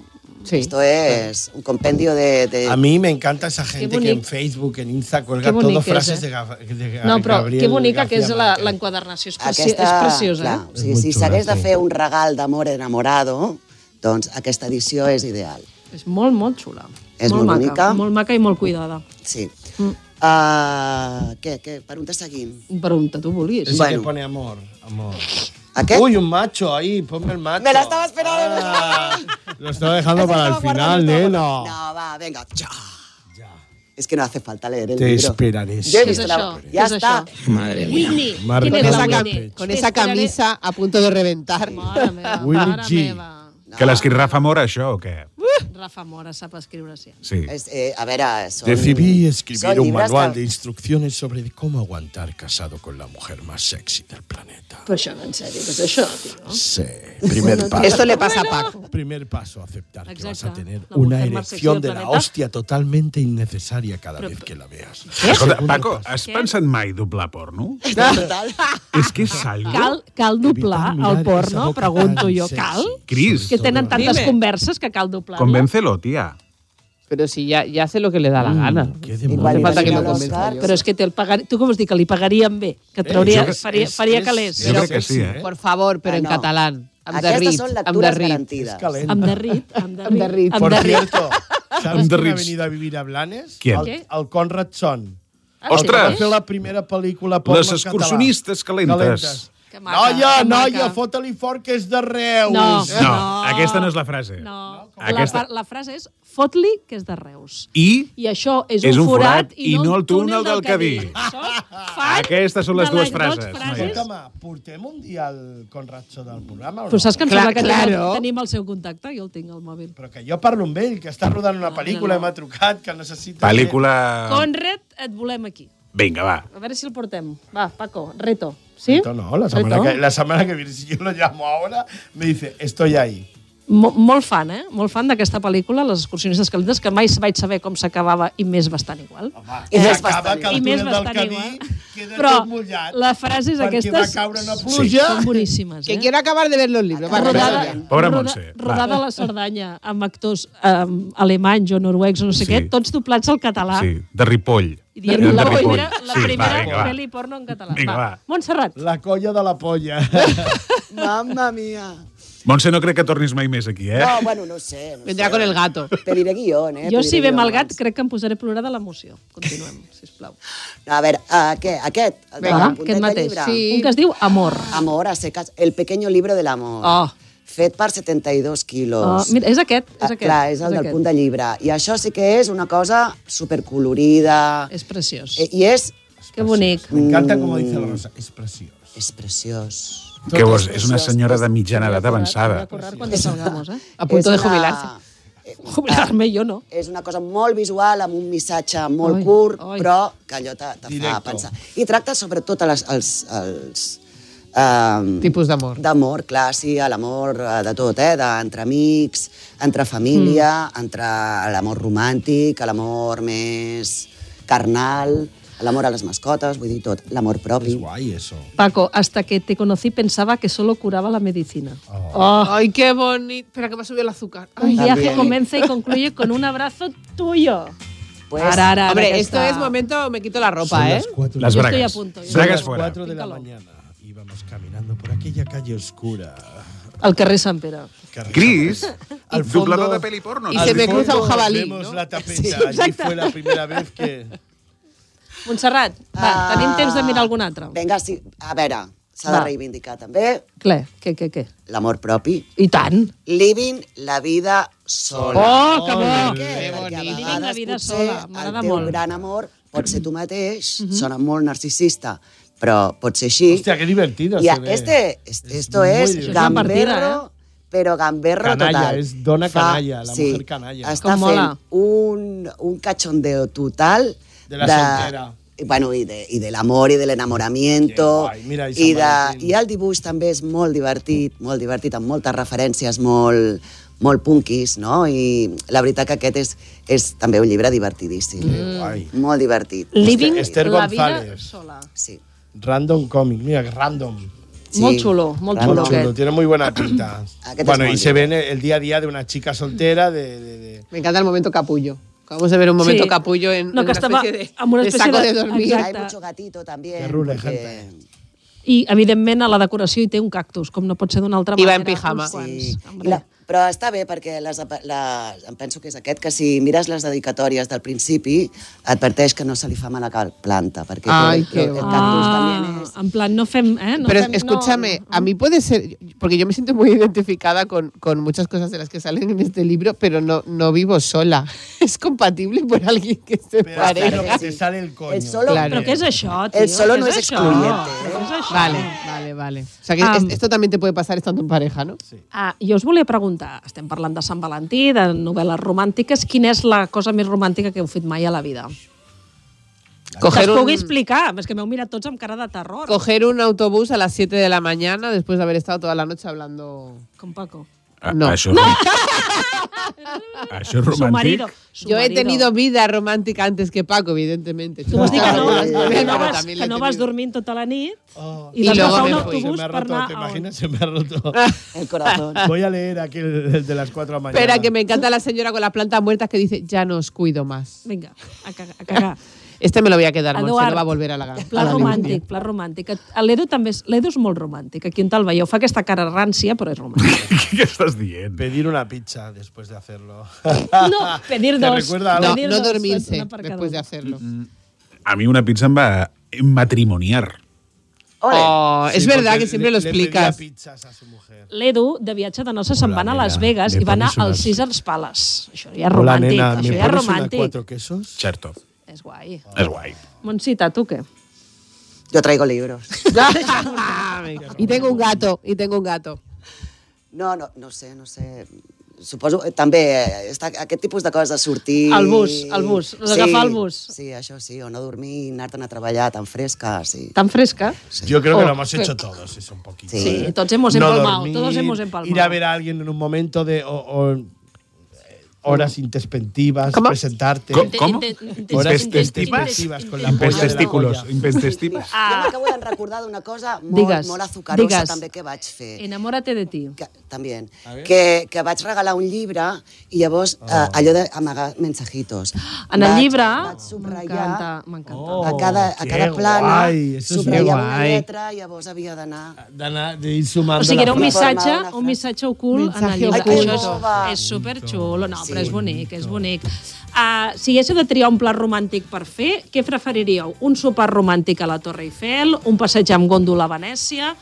Speaker 2: Esto es un compendio de... de-
Speaker 5: A mí me encanta esa gente que
Speaker 3: bonic.
Speaker 5: en Facebook, en Insta, cuelga
Speaker 3: Qué bonic
Speaker 5: todo
Speaker 3: que és,
Speaker 5: frases
Speaker 3: eh?
Speaker 5: de, Gaf- de Ga-
Speaker 3: No, però
Speaker 5: Gabriel
Speaker 3: que bonica que és
Speaker 5: García
Speaker 3: la- l'enquadernació. És, preci
Speaker 2: Aquesta,
Speaker 3: és preciosa,
Speaker 2: clar,
Speaker 3: eh?
Speaker 2: o sigui, si s'hagués de fer un regal d'amor enamorado, doncs aquesta edició és ideal.
Speaker 3: És molt, molt xula.
Speaker 2: És
Speaker 3: molt
Speaker 2: molt
Speaker 3: maca,
Speaker 2: bonica.
Speaker 3: Molt maca i molt cuidada.
Speaker 2: Sí.
Speaker 3: Mm.
Speaker 2: Ah, què, què? Per on te seguim?
Speaker 3: Per on te tu vulguis.
Speaker 5: Ese que pone amor, amor. Uy, un macho ahí, ponme el macho. Ah,
Speaker 2: Me la estaba esperando.
Speaker 5: Lo estaba dejando para el final, nena.
Speaker 2: No, va, venga. Ja. Es que no hace falta leer el
Speaker 5: Te
Speaker 2: libro.
Speaker 5: esperaré
Speaker 2: Ya he
Speaker 5: siempre.
Speaker 2: visto la- Ya está.
Speaker 5: Madre
Speaker 2: Whitney.
Speaker 5: Marta.
Speaker 6: Con esa, cam-
Speaker 2: Whitney?
Speaker 6: con esa camisa a punto de reventar.
Speaker 7: Willy G. Que l'escrit Rafa Mora, això, o què?
Speaker 3: Rafa Mora sap escriure sí.
Speaker 7: Sí.
Speaker 2: Es, eh, a ver, ah, son...
Speaker 15: Decidí
Speaker 2: son
Speaker 15: escribir un
Speaker 2: libros
Speaker 15: manual
Speaker 2: que-
Speaker 15: de instrucciones sobre cómo aguantar casado con la mujer más sexy del planeta.
Speaker 3: Però això, en sèrio, què és això, tio?
Speaker 15: Sí, primer paso.
Speaker 6: Esto le pasa a Paco.
Speaker 15: Primer paso, aceptar que vas a tener
Speaker 3: La
Speaker 15: una
Speaker 3: mujer más sexy del
Speaker 15: erección de la
Speaker 3: planeta.
Speaker 15: hostia totalmente innecesaria cada vez que la veas.
Speaker 5: Eh,
Speaker 7: Escolta, Paco, has pensat mai doblar porno?
Speaker 2: Total.
Speaker 7: És que és algo...
Speaker 3: Cal, cal doblar el porno, pregunto jo. Cal?
Speaker 7: Cris,
Speaker 3: Que tenen tantes
Speaker 6: Dime.
Speaker 3: converses que cal doblar.
Speaker 7: convéncelo, tía.
Speaker 6: Pero si ya, ya hace lo que le da la gana. No
Speaker 2: Igual
Speaker 6: hace falta que
Speaker 2: imagina
Speaker 6: lo
Speaker 2: los
Speaker 6: convenza
Speaker 2: barcos.
Speaker 6: yo.
Speaker 3: Però és que te'l pagari... tu com us dic, que li pagarien bé, que trauria,
Speaker 7: Eh, jo crec-
Speaker 3: faria,
Speaker 7: és-
Speaker 3: faria
Speaker 7: és-
Speaker 3: calés.
Speaker 7: jo crec que sí, eh?
Speaker 6: Por favor, pero
Speaker 2: Ah,
Speaker 6: en
Speaker 2: no.
Speaker 6: catalán. Em
Speaker 2: Aquestes
Speaker 6: derrit,
Speaker 2: són
Speaker 6: em
Speaker 2: lectures
Speaker 6: derrit.
Speaker 2: garantides.
Speaker 3: Em derrit, em derrit.
Speaker 6: derrit.
Speaker 3: Em
Speaker 5: Por
Speaker 3: derrit.
Speaker 5: cierto, ¿sabes
Speaker 7: Em
Speaker 5: quién ha
Speaker 7: derrits.
Speaker 5: venido a vivir a Blanes?
Speaker 7: ¿Quién?
Speaker 5: Al
Speaker 3: ¿Qué?
Speaker 5: al Conrad Son.
Speaker 7: Ostres!
Speaker 3: Ah,
Speaker 5: Que va fer la primera pel·lícula porno
Speaker 7: Les excursionistes calentes.
Speaker 3: Que maca.
Speaker 5: Noia,
Speaker 3: que maca.
Speaker 5: noia, fota-li fort que és de Reus. Eh?
Speaker 7: No, aquesta no és la frase.
Speaker 3: No,
Speaker 7: Aquesta-
Speaker 3: la, fa- la frase és fot-li que és de Reus.
Speaker 7: I
Speaker 3: I això és, un, forat,
Speaker 7: i no el túnel del Cadí. Aquestes són les
Speaker 3: de
Speaker 7: dues
Speaker 3: les dues
Speaker 7: frases. noies.
Speaker 5: Escolta'm, portem un dia el Conratxo del programa o no?
Speaker 3: Però saps que em sembla que tenim,
Speaker 5: claro.
Speaker 3: tenim el seu contacte? Jo el tinc al mòbil.
Speaker 5: Però que jo parlo amb ell, que està rodant
Speaker 6: Ah,
Speaker 5: una pel·lícula i m'ha trucat, que necessita...
Speaker 7: Pel·lícula...
Speaker 3: Conrad, et volem aquí.
Speaker 7: Vinga, va.
Speaker 3: A veure si el portem. Va, Paco, reto. ¿Sí?
Speaker 5: No, la semana,
Speaker 3: Reto.
Speaker 5: que, la semana que viene, si yo lo llamo ahora, me dice, estoy ahí.
Speaker 3: Mo- molt fan, eh? Molt fan d'aquesta pel·lícula, Les excursionistes calentes, que mai vaig saber com s'acabava i més bastant igual. Home,
Speaker 6: Ah.
Speaker 5: I més bastant igual.
Speaker 3: I més
Speaker 5: Del
Speaker 3: bastant
Speaker 5: Cadí
Speaker 3: igual.
Speaker 5: queda
Speaker 3: Però
Speaker 5: tot mullat,
Speaker 3: la frase és
Speaker 5: perquè
Speaker 3: aquestes...
Speaker 5: va caure una
Speaker 6: pluja.
Speaker 3: Són boníssimes, eh?
Speaker 6: Que quiero acabar de ver los libros. Va,
Speaker 3: Rodada,
Speaker 7: Pobre
Speaker 3: roda-
Speaker 7: Montse, va.
Speaker 3: rodada a la Cerdanya amb actors eh, alemanys o noruecs o no sé
Speaker 7: Sí.
Speaker 3: sí. què, tots doblats al català.
Speaker 7: Sí, de Ripoll.
Speaker 3: Ah. I dient
Speaker 7: Eren de
Speaker 3: la
Speaker 7: Ripoll.
Speaker 3: primera, la
Speaker 7: Sí, va,
Speaker 3: primera
Speaker 7: vinga, va.
Speaker 3: pel·li porno en català.
Speaker 7: Vinga, va.
Speaker 3: Montserrat.
Speaker 5: La colla de la polla.
Speaker 2: Mamma mia.
Speaker 7: Montse, no crec que tornis mai més aquí, eh?
Speaker 2: No, bueno, no sé. No
Speaker 6: Vendrá con el gato.
Speaker 2: Pediré guión, eh?
Speaker 3: Jo,
Speaker 2: pediré
Speaker 3: si ve
Speaker 2: guión.
Speaker 3: mal gat, crec que em posaré a plorar de l'emoció. Continuem, sisplau.
Speaker 2: No, a veure, uh, què? Aquest? El de
Speaker 3: Vinga,
Speaker 2: la
Speaker 3: aquest
Speaker 2: punteta
Speaker 3: mateix.
Speaker 2: llibre?
Speaker 3: Sí. Un que es diu Amor.
Speaker 2: Amor, a secas. El pequeño libro del amor.
Speaker 3: Oh.
Speaker 2: Fet per 72 quilos.
Speaker 3: Ah, mira, és aquest, és
Speaker 2: Ah,
Speaker 3: aquest,
Speaker 2: Clar, és
Speaker 3: és
Speaker 2: el del
Speaker 3: aquest.
Speaker 2: punt de llibre. I això sí que és una cosa supercolorida.
Speaker 3: És preciós.
Speaker 2: Eh, I, i és...
Speaker 3: Que bonic.
Speaker 5: Me encanta como dice la Rosa, es precioso.
Speaker 2: És preciós.
Speaker 7: Que vos, és una senyora de mitjana edat avançada.
Speaker 3: Cuando salgamos, eh?
Speaker 6: A punto de
Speaker 2: És una-
Speaker 6: jubilarse.
Speaker 3: Jubilar-me jo no.
Speaker 2: És una cosa molt visual, amb un missatge molt curt, però que allò te, te fa
Speaker 6: Directo.
Speaker 2: pensar. I tracta sobretot a les, els, els um,
Speaker 6: Tipus d'amor.
Speaker 2: D'amor, clar, sí, a l'amor eh, de tot, eh? De, entre amics, entre família, mm. entre l'amor romàntic, a l'amor més carnal, a l'amor a les mascotes, vull dir tot, l'amor propi. És
Speaker 5: guai, això.
Speaker 3: Paco, hasta que te conocí pensaba que solo curaba la medicina.
Speaker 6: Ay, qué bonito. Espera, que me ha subido el azúcar.
Speaker 3: Un
Speaker 6: Ah. Ay.
Speaker 3: viaje comienza y concluye con un abrazo tuyo.
Speaker 2: Pues,
Speaker 3: Ara, ara, ara,
Speaker 6: hombre,
Speaker 3: que
Speaker 6: esto
Speaker 3: està.
Speaker 6: es momento, me quito la ropa, ¿eh?
Speaker 7: Las
Speaker 6: Yo
Speaker 7: bragas.
Speaker 6: estoy a punto, yo.
Speaker 7: bragas
Speaker 5: Son las
Speaker 7: fuera.
Speaker 5: 4 de la mañana. Íbamos caminando por aquella calle oscura.
Speaker 3: Al carrer Sant Pere.
Speaker 7: Gris,
Speaker 5: Al
Speaker 7: doblada de peli porno.
Speaker 6: Y se me cruza un jabalí,
Speaker 5: Vemos
Speaker 6: ¿no?
Speaker 5: la tapeta.
Speaker 6: Sí,
Speaker 5: Allí
Speaker 6: exacte.
Speaker 5: fue la primera vez que...
Speaker 3: Montserrat, va,
Speaker 6: Ah.
Speaker 3: tenim temps de mirar algun altre.
Speaker 2: Ah. Vinga, sí, a veure, s'ha de
Speaker 3: Va.
Speaker 2: reivindicar també
Speaker 3: Clar, què, què, què?
Speaker 2: l'amor propi.
Speaker 3: I tant.
Speaker 2: Living la vida sola.
Speaker 3: Oh, que bo!
Speaker 2: Què? Perquè a
Speaker 3: bonic.
Speaker 2: vegades
Speaker 3: Living la vida
Speaker 2: potser
Speaker 3: sola, m'agrada
Speaker 2: El teu
Speaker 3: molt. Mhm.
Speaker 2: gran amor pot ser tu mateix, sona molt narcisista, però pot ser així.
Speaker 5: Hòstia, que divertido.
Speaker 2: I
Speaker 5: se ve.
Speaker 2: este, es- esto
Speaker 5: muy
Speaker 2: es,
Speaker 5: divertido. Es una
Speaker 2: gamberro,
Speaker 3: ¿eh?
Speaker 5: partida,
Speaker 2: però gamberro
Speaker 5: Canalla,
Speaker 2: total.
Speaker 5: és dona canalla, la mujer canalla.
Speaker 2: Està
Speaker 5: Com mola.
Speaker 2: fent un, un cachondeo total
Speaker 5: De la soltera.
Speaker 2: i, bueno, i, de, i de l'amor i de l'enamoramiento
Speaker 5: Que guai, mira, i
Speaker 2: i,
Speaker 5: Sant
Speaker 2: de,
Speaker 5: Valentín.
Speaker 2: i el dibuix també és molt divertit molt divertit, amb moltes referències molt, molt punquis no? i la veritat que aquest és, és també un llibre divertidíssim
Speaker 6: Mm.
Speaker 5: guai.
Speaker 2: molt divertit
Speaker 3: Mm. Living
Speaker 5: Esther
Speaker 3: la vida
Speaker 5: González.
Speaker 3: sola.
Speaker 2: Sí.
Speaker 5: Random Comic, mira, que random.
Speaker 3: Sí, Molt xulo, molt
Speaker 5: Muy
Speaker 3: xulo
Speaker 5: chulo,
Speaker 3: aquest.
Speaker 5: tiene muy buena pinta.
Speaker 6: Aquest
Speaker 5: bueno,
Speaker 6: es
Speaker 5: y
Speaker 6: molt
Speaker 5: se ve en el día a día de una chica soltera, de, de- de-
Speaker 6: Me encanta el momento capullo. Acabamos de ver un momento
Speaker 2: Sí.
Speaker 6: capullo en,
Speaker 2: No,
Speaker 6: en
Speaker 2: que estaba
Speaker 6: de,
Speaker 2: amb una
Speaker 6: de
Speaker 2: especie
Speaker 6: saco
Speaker 2: de-
Speaker 6: de, dormir.
Speaker 2: Exacte. Hay mucho gatito también. Que rule, gente.
Speaker 3: I, evidentment, a la decoració hi té un cactus, com no pot ser d'una altra
Speaker 6: I
Speaker 3: manera.
Speaker 6: va en pijama.
Speaker 3: uns quants.
Speaker 2: Sí. I La, però està bé perquè les, apa- les, em penso que és aquest, que si mires les dedicatòries del principi, adverteix que no se li fa mal a cal planta, perquè
Speaker 6: Ai,
Speaker 2: el, el,
Speaker 6: que
Speaker 2: el
Speaker 6: bo.
Speaker 2: cactus
Speaker 3: Ah,
Speaker 2: també
Speaker 3: en plan, no fem... Eh? No
Speaker 6: Pero
Speaker 3: fem,
Speaker 6: escúchame, a mí puede ser, porque yo me siento muy identificada con, con muchas cosas de las que salen en este libro, pero no, no vivo sola. Es compatible por alguien que se
Speaker 5: es
Speaker 6: parezca.
Speaker 5: lo que te sale el coño.
Speaker 6: El solo- Claro.
Speaker 3: Però què és això, tio?
Speaker 6: El solo
Speaker 3: Què
Speaker 6: no és
Speaker 3: això?
Speaker 6: excluyente,
Speaker 3: Què és això?
Speaker 6: Vale, vale, vale. O sea que
Speaker 3: Ah.
Speaker 6: es- esto también te puede pasar estando en pareja, ¿no?
Speaker 3: Ah, jo us volia preguntar, estem parlant de Sant Valentí, de novel·les romàntiques, quina és la cosa més romàntica que heu fet mai a la vida? que
Speaker 6: Coger
Speaker 3: es pugui
Speaker 6: un,
Speaker 3: explicar, és que m'heu mirat tots amb cara de terror.
Speaker 6: coger un autobús a las 7 de la mañana después de haber estado toda la noche hablando.
Speaker 3: Com Paco.
Speaker 6: No.
Speaker 7: Ah, Això, això és
Speaker 3: Su
Speaker 7: romàntic.
Speaker 3: marido. Su
Speaker 6: Yo he
Speaker 3: marido.
Speaker 6: tenido vida romántica antes que Paco, evidentemente.
Speaker 3: Tu vas dir que no, que no,
Speaker 6: Pero
Speaker 3: vas,
Speaker 6: también
Speaker 3: que
Speaker 6: la
Speaker 3: no
Speaker 6: he
Speaker 3: vas
Speaker 6: tenido.
Speaker 3: dormint tota la nit oh.
Speaker 6: I
Speaker 3: i vas
Speaker 6: luego
Speaker 3: agafar
Speaker 6: me
Speaker 3: un
Speaker 6: fui.
Speaker 3: autobús
Speaker 5: Se me ha
Speaker 3: per
Speaker 5: roto,
Speaker 3: anar
Speaker 5: ¿te
Speaker 3: a on?
Speaker 5: imaginas? Se me ha roto.
Speaker 2: El corazón.
Speaker 5: Voy a leer aquel el de las 4 de la mañana.
Speaker 6: Espera, que me encanta la señora con las plantas muertas que dice, ya no os cuido más.
Speaker 3: Vinga, a cagar. A cagar.
Speaker 6: Este me lo voy a quedar, Monse,
Speaker 3: Eduard,
Speaker 6: no va a volver a la gana.
Speaker 3: Pla romàntic, pla romàntic. L'Edu també és, l'Edu és molt romàntic. Aquí on te'l veieu fa aquesta cara rància, però és romàntic.
Speaker 7: ¿Qué estás diciendo?
Speaker 5: Pedir una pizza después de hacerlo.
Speaker 3: No, pedir
Speaker 5: ¿Te
Speaker 3: dos.
Speaker 5: recuerda algo?
Speaker 6: No,
Speaker 3: Pedir
Speaker 6: no
Speaker 3: dos,
Speaker 6: dormirse
Speaker 3: una per cada
Speaker 5: Mm.
Speaker 6: después de
Speaker 3: un.
Speaker 6: hacerlo.
Speaker 7: A mí una pizza me va a matrimoniar.
Speaker 6: Oh, es
Speaker 5: Sí,
Speaker 6: verdad
Speaker 5: porque
Speaker 6: que siempre
Speaker 5: le-
Speaker 6: lo
Speaker 5: le pedía
Speaker 6: explicas.
Speaker 5: pizzas a su mujer.
Speaker 3: L'Edu, de viatge de noces, se'n va anar a Las Vegas
Speaker 5: me
Speaker 3: i va anar
Speaker 5: pones unes-
Speaker 3: als Caesars Palace. Això ja és
Speaker 5: Hola,
Speaker 3: romàntic.
Speaker 5: nena, ¿me
Speaker 3: això ja és
Speaker 5: pones una
Speaker 3: romàntic.
Speaker 5: cuatro quesos?
Speaker 7: Cierto.
Speaker 3: És guai.
Speaker 7: És guai.
Speaker 3: Montsita, tu què?
Speaker 2: Yo traigo libros.
Speaker 6: y tengo un gato, y tengo un gato.
Speaker 2: No, no, no sé, no sé. Suposo eh, també eh, està, aquest tipus de coses, sortir...
Speaker 4: El bus, el bus, agafar el bus.
Speaker 2: Sí, això sí, o no dormir, anar-te'n a treballar tan fresca, sí.
Speaker 3: Tan fresca?
Speaker 2: Sí.
Speaker 5: Yo creo que
Speaker 2: Oh.
Speaker 5: lo hemos hecho todos, eso un poquito.
Speaker 2: Sí. Sí,
Speaker 3: todos hemos empalmado, todos hemos empalmado.
Speaker 5: Ir a ver a alguien en un momento de o- o, eh, horas
Speaker 3: Mm.
Speaker 5: intespectivas, presentarte.
Speaker 7: Co- ¿Cómo?
Speaker 5: Horas
Speaker 7: Intestestives.
Speaker 5: intespectivas con la polla de la
Speaker 7: Impestestículos.
Speaker 5: polla.
Speaker 7: Impestestículos.
Speaker 2: Ah. Jo m'acabo de recordar d'una cosa molt,
Speaker 3: Digues,
Speaker 2: molt azucarosa
Speaker 3: digues.
Speaker 2: també que vaig fer.
Speaker 3: Enamórate de ti.
Speaker 2: Que, també. Que, que vaig regalar un llibre i llavors oh. eh, allò d'amagar mensajitos.
Speaker 3: En el
Speaker 2: Vaig-
Speaker 3: llibre... Oh,
Speaker 2: Vaig subratllar
Speaker 3: M'encanta, m'encanta.
Speaker 2: a cada, a
Speaker 5: que
Speaker 2: cada plana,
Speaker 5: guai, això és
Speaker 2: subratllar una
Speaker 5: guai.
Speaker 2: lletra i llavors havia d'anar...
Speaker 5: Ah, D'anar- de ir sumando
Speaker 3: O sigui, era un
Speaker 5: la frase.
Speaker 3: missatge, un missatge ocult en el
Speaker 2: Missatge
Speaker 3: llibre.
Speaker 2: ocult.
Speaker 3: Això és, és superxulo, no, però és bonic, és bonic. Uh, si haguéssiu de triar un plat romàntic per fer, què preferiríeu? Un sopar romàntic a la Torre Eiffel, un passeig amb gòndola a Venècia,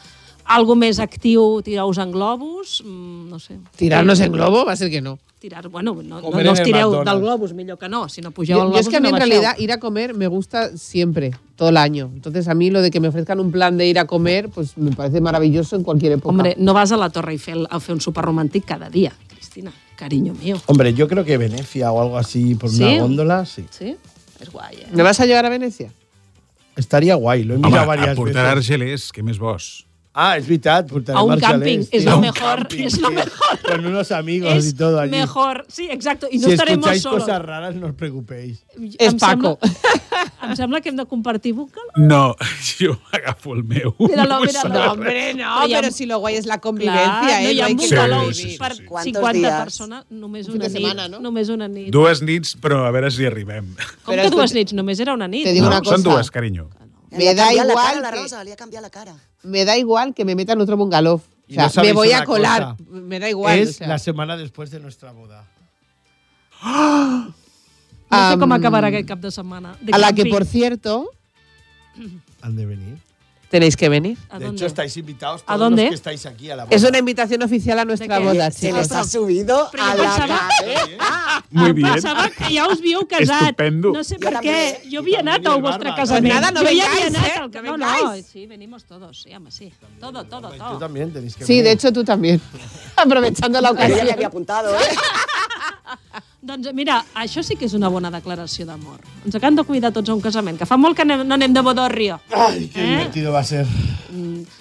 Speaker 3: algo més actiu, tirar-vos en globus, mm, no sé. Eh,
Speaker 6: Tirarnos en globo va a ser que no.
Speaker 3: Tirar, bueno, no, no,
Speaker 6: Comer
Speaker 3: no
Speaker 6: en
Speaker 3: us
Speaker 6: el
Speaker 3: tireu
Speaker 6: McDonald's.
Speaker 3: del globus, millor que no, si no pugeu al
Speaker 6: Yo, yo
Speaker 3: globus
Speaker 6: es que a mí
Speaker 3: no
Speaker 6: en
Speaker 3: baixeu.
Speaker 6: realidad ir a comer me gusta siempre, todo el año. Entonces a mí lo de que me ofrezcan un plan de ir a comer, pues me parece maravilloso en cualquier época.
Speaker 3: Hombre, no vas a la Torre Eiffel a fer un sopar romàntic cada dia, Cristina, carinyo mío.
Speaker 6: Oh.
Speaker 5: Hombre, yo creo que Venecia o algo así por
Speaker 3: ¿Sí?
Speaker 5: una góndola, sí.
Speaker 3: Sí? És guai, eh?
Speaker 6: ¿Me vas a llevar a Venecia?
Speaker 5: Estaría guay, lo he
Speaker 7: Home,
Speaker 5: mirado
Speaker 7: a
Speaker 5: varias
Speaker 7: portar
Speaker 5: veces.
Speaker 7: argelers, que més vos.
Speaker 5: Ah, es verdad, portar
Speaker 3: A un
Speaker 5: Marshall
Speaker 3: camping,
Speaker 5: Ace,
Speaker 3: es
Speaker 5: tío.
Speaker 3: lo
Speaker 5: este. Un
Speaker 3: mejor,
Speaker 5: camping,
Speaker 3: es lo
Speaker 5: tío, Con unos amigos y todo allí.
Speaker 3: Mejor, sí, exacto, i no
Speaker 5: si
Speaker 3: estaremos
Speaker 5: escucháis
Speaker 3: solos.
Speaker 5: cosas raras, no os preocupéis.
Speaker 3: Em sembla- Em sembla que hem de compartir vocal.
Speaker 7: No, jo agafo el meu.
Speaker 3: Míralo,
Speaker 7: No
Speaker 3: míralo.
Speaker 7: sabrà.
Speaker 6: Hombre, Eh, no,
Speaker 3: Però hi ha-
Speaker 6: pero, si lo guay es la convivencia,
Speaker 3: Clar, no
Speaker 6: ¿eh?
Speaker 3: hi ha
Speaker 6: hay
Speaker 3: un
Speaker 6: que-
Speaker 3: bungalow
Speaker 7: Sí, sí, sí,
Speaker 3: per
Speaker 7: sí.
Speaker 2: Quantos
Speaker 3: 50
Speaker 2: dies?
Speaker 3: persones, només
Speaker 6: Un
Speaker 3: una
Speaker 6: fin de
Speaker 3: nit.
Speaker 6: setmana, no?
Speaker 3: Només una nit.
Speaker 7: Dues nits, però a veure si arribem.
Speaker 3: Com que dues nits? Només era una nit.
Speaker 6: Te digo
Speaker 7: No,
Speaker 6: una cosa.
Speaker 7: són dues, carinyo.
Speaker 2: Li ha
Speaker 6: Me da
Speaker 2: canviat la
Speaker 6: igual
Speaker 2: cara a la
Speaker 6: que-
Speaker 2: Rosa, li ha canviat la cara.
Speaker 6: me da igual que me metan otro bungalow.
Speaker 5: Y
Speaker 6: O sea,
Speaker 5: no sabéis
Speaker 6: me voy a
Speaker 5: una
Speaker 6: colar.
Speaker 5: cosa.
Speaker 6: Me da igual.
Speaker 5: Es
Speaker 6: o sea.
Speaker 5: la semana después de nuestra boda.
Speaker 3: No sé com
Speaker 6: Am,
Speaker 3: acabarà aquest cap de setmana. De
Speaker 6: a la que,
Speaker 3: camping.
Speaker 6: por cierto,
Speaker 5: Han de venir.
Speaker 6: tenéis que venir.
Speaker 3: ¿A
Speaker 5: De
Speaker 3: dónde?
Speaker 5: hecho, estáis invitados
Speaker 6: ¿A
Speaker 5: todos
Speaker 6: dónde?
Speaker 5: los que estáis aquí a la boda.
Speaker 6: Es una invitación oficial a nuestra
Speaker 3: qué?
Speaker 6: boda,
Speaker 2: Se les
Speaker 6: chicos.
Speaker 2: ha subido
Speaker 3: Però
Speaker 2: a
Speaker 3: jo
Speaker 2: la
Speaker 3: pensava,
Speaker 7: Eh? Muy
Speaker 3: em
Speaker 7: bien.
Speaker 3: pensava que ja us havíeu casat.
Speaker 7: Estupendo.
Speaker 3: No sé per què. Jo havia anat al vostre casament.
Speaker 6: Pues nada, no
Speaker 3: jo ja
Speaker 6: vengáis,
Speaker 3: havia
Speaker 6: eh,
Speaker 3: anat al
Speaker 6: no
Speaker 3: No, no,
Speaker 6: vengáis.
Speaker 3: sí, venimos todos, sí, home, sí. Todo, todo,
Speaker 5: Tú
Speaker 3: todo.
Speaker 5: también tenéis que
Speaker 6: Sí,
Speaker 5: venir.
Speaker 6: de hecho tú también. Aprovechando la
Speaker 2: Ella le había
Speaker 6: ocasión.
Speaker 2: apuntado, ¿eh?
Speaker 3: Doncs mira, això sí que és una bona declaració d'amor. Ens acaben de cuidar tots a un casament, que fa molt que anem- no anem de bodorrio.
Speaker 5: Ay, qué
Speaker 3: ¿Eh?
Speaker 5: divertido va a ser.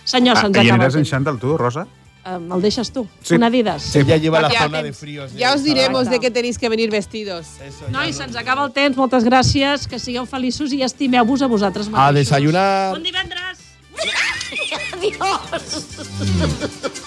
Speaker 3: Senyor,
Speaker 7: Ah,
Speaker 3: se'ns
Speaker 7: I
Speaker 3: acaba. el
Speaker 7: aniràs en
Speaker 3: temps.
Speaker 7: Xandall, tu, Rosa?
Speaker 3: Eh, Me'l deixes tu,
Speaker 7: Sí.
Speaker 3: una dides.
Speaker 7: Sí.
Speaker 5: Ya lleva la
Speaker 6: Ya
Speaker 5: zona
Speaker 6: te-
Speaker 5: de fríos.
Speaker 6: Ya os diremos
Speaker 3: Exacto.
Speaker 6: de qué tenéis que venir vestidos.
Speaker 5: Eso, ya
Speaker 3: Nois, se'ns acaba el temps, moltes gràcies, que sigueu feliços i estimeu-vos a vosaltres mateixos.
Speaker 5: A desayunar.
Speaker 3: Bon divendres!
Speaker 13: Adiós.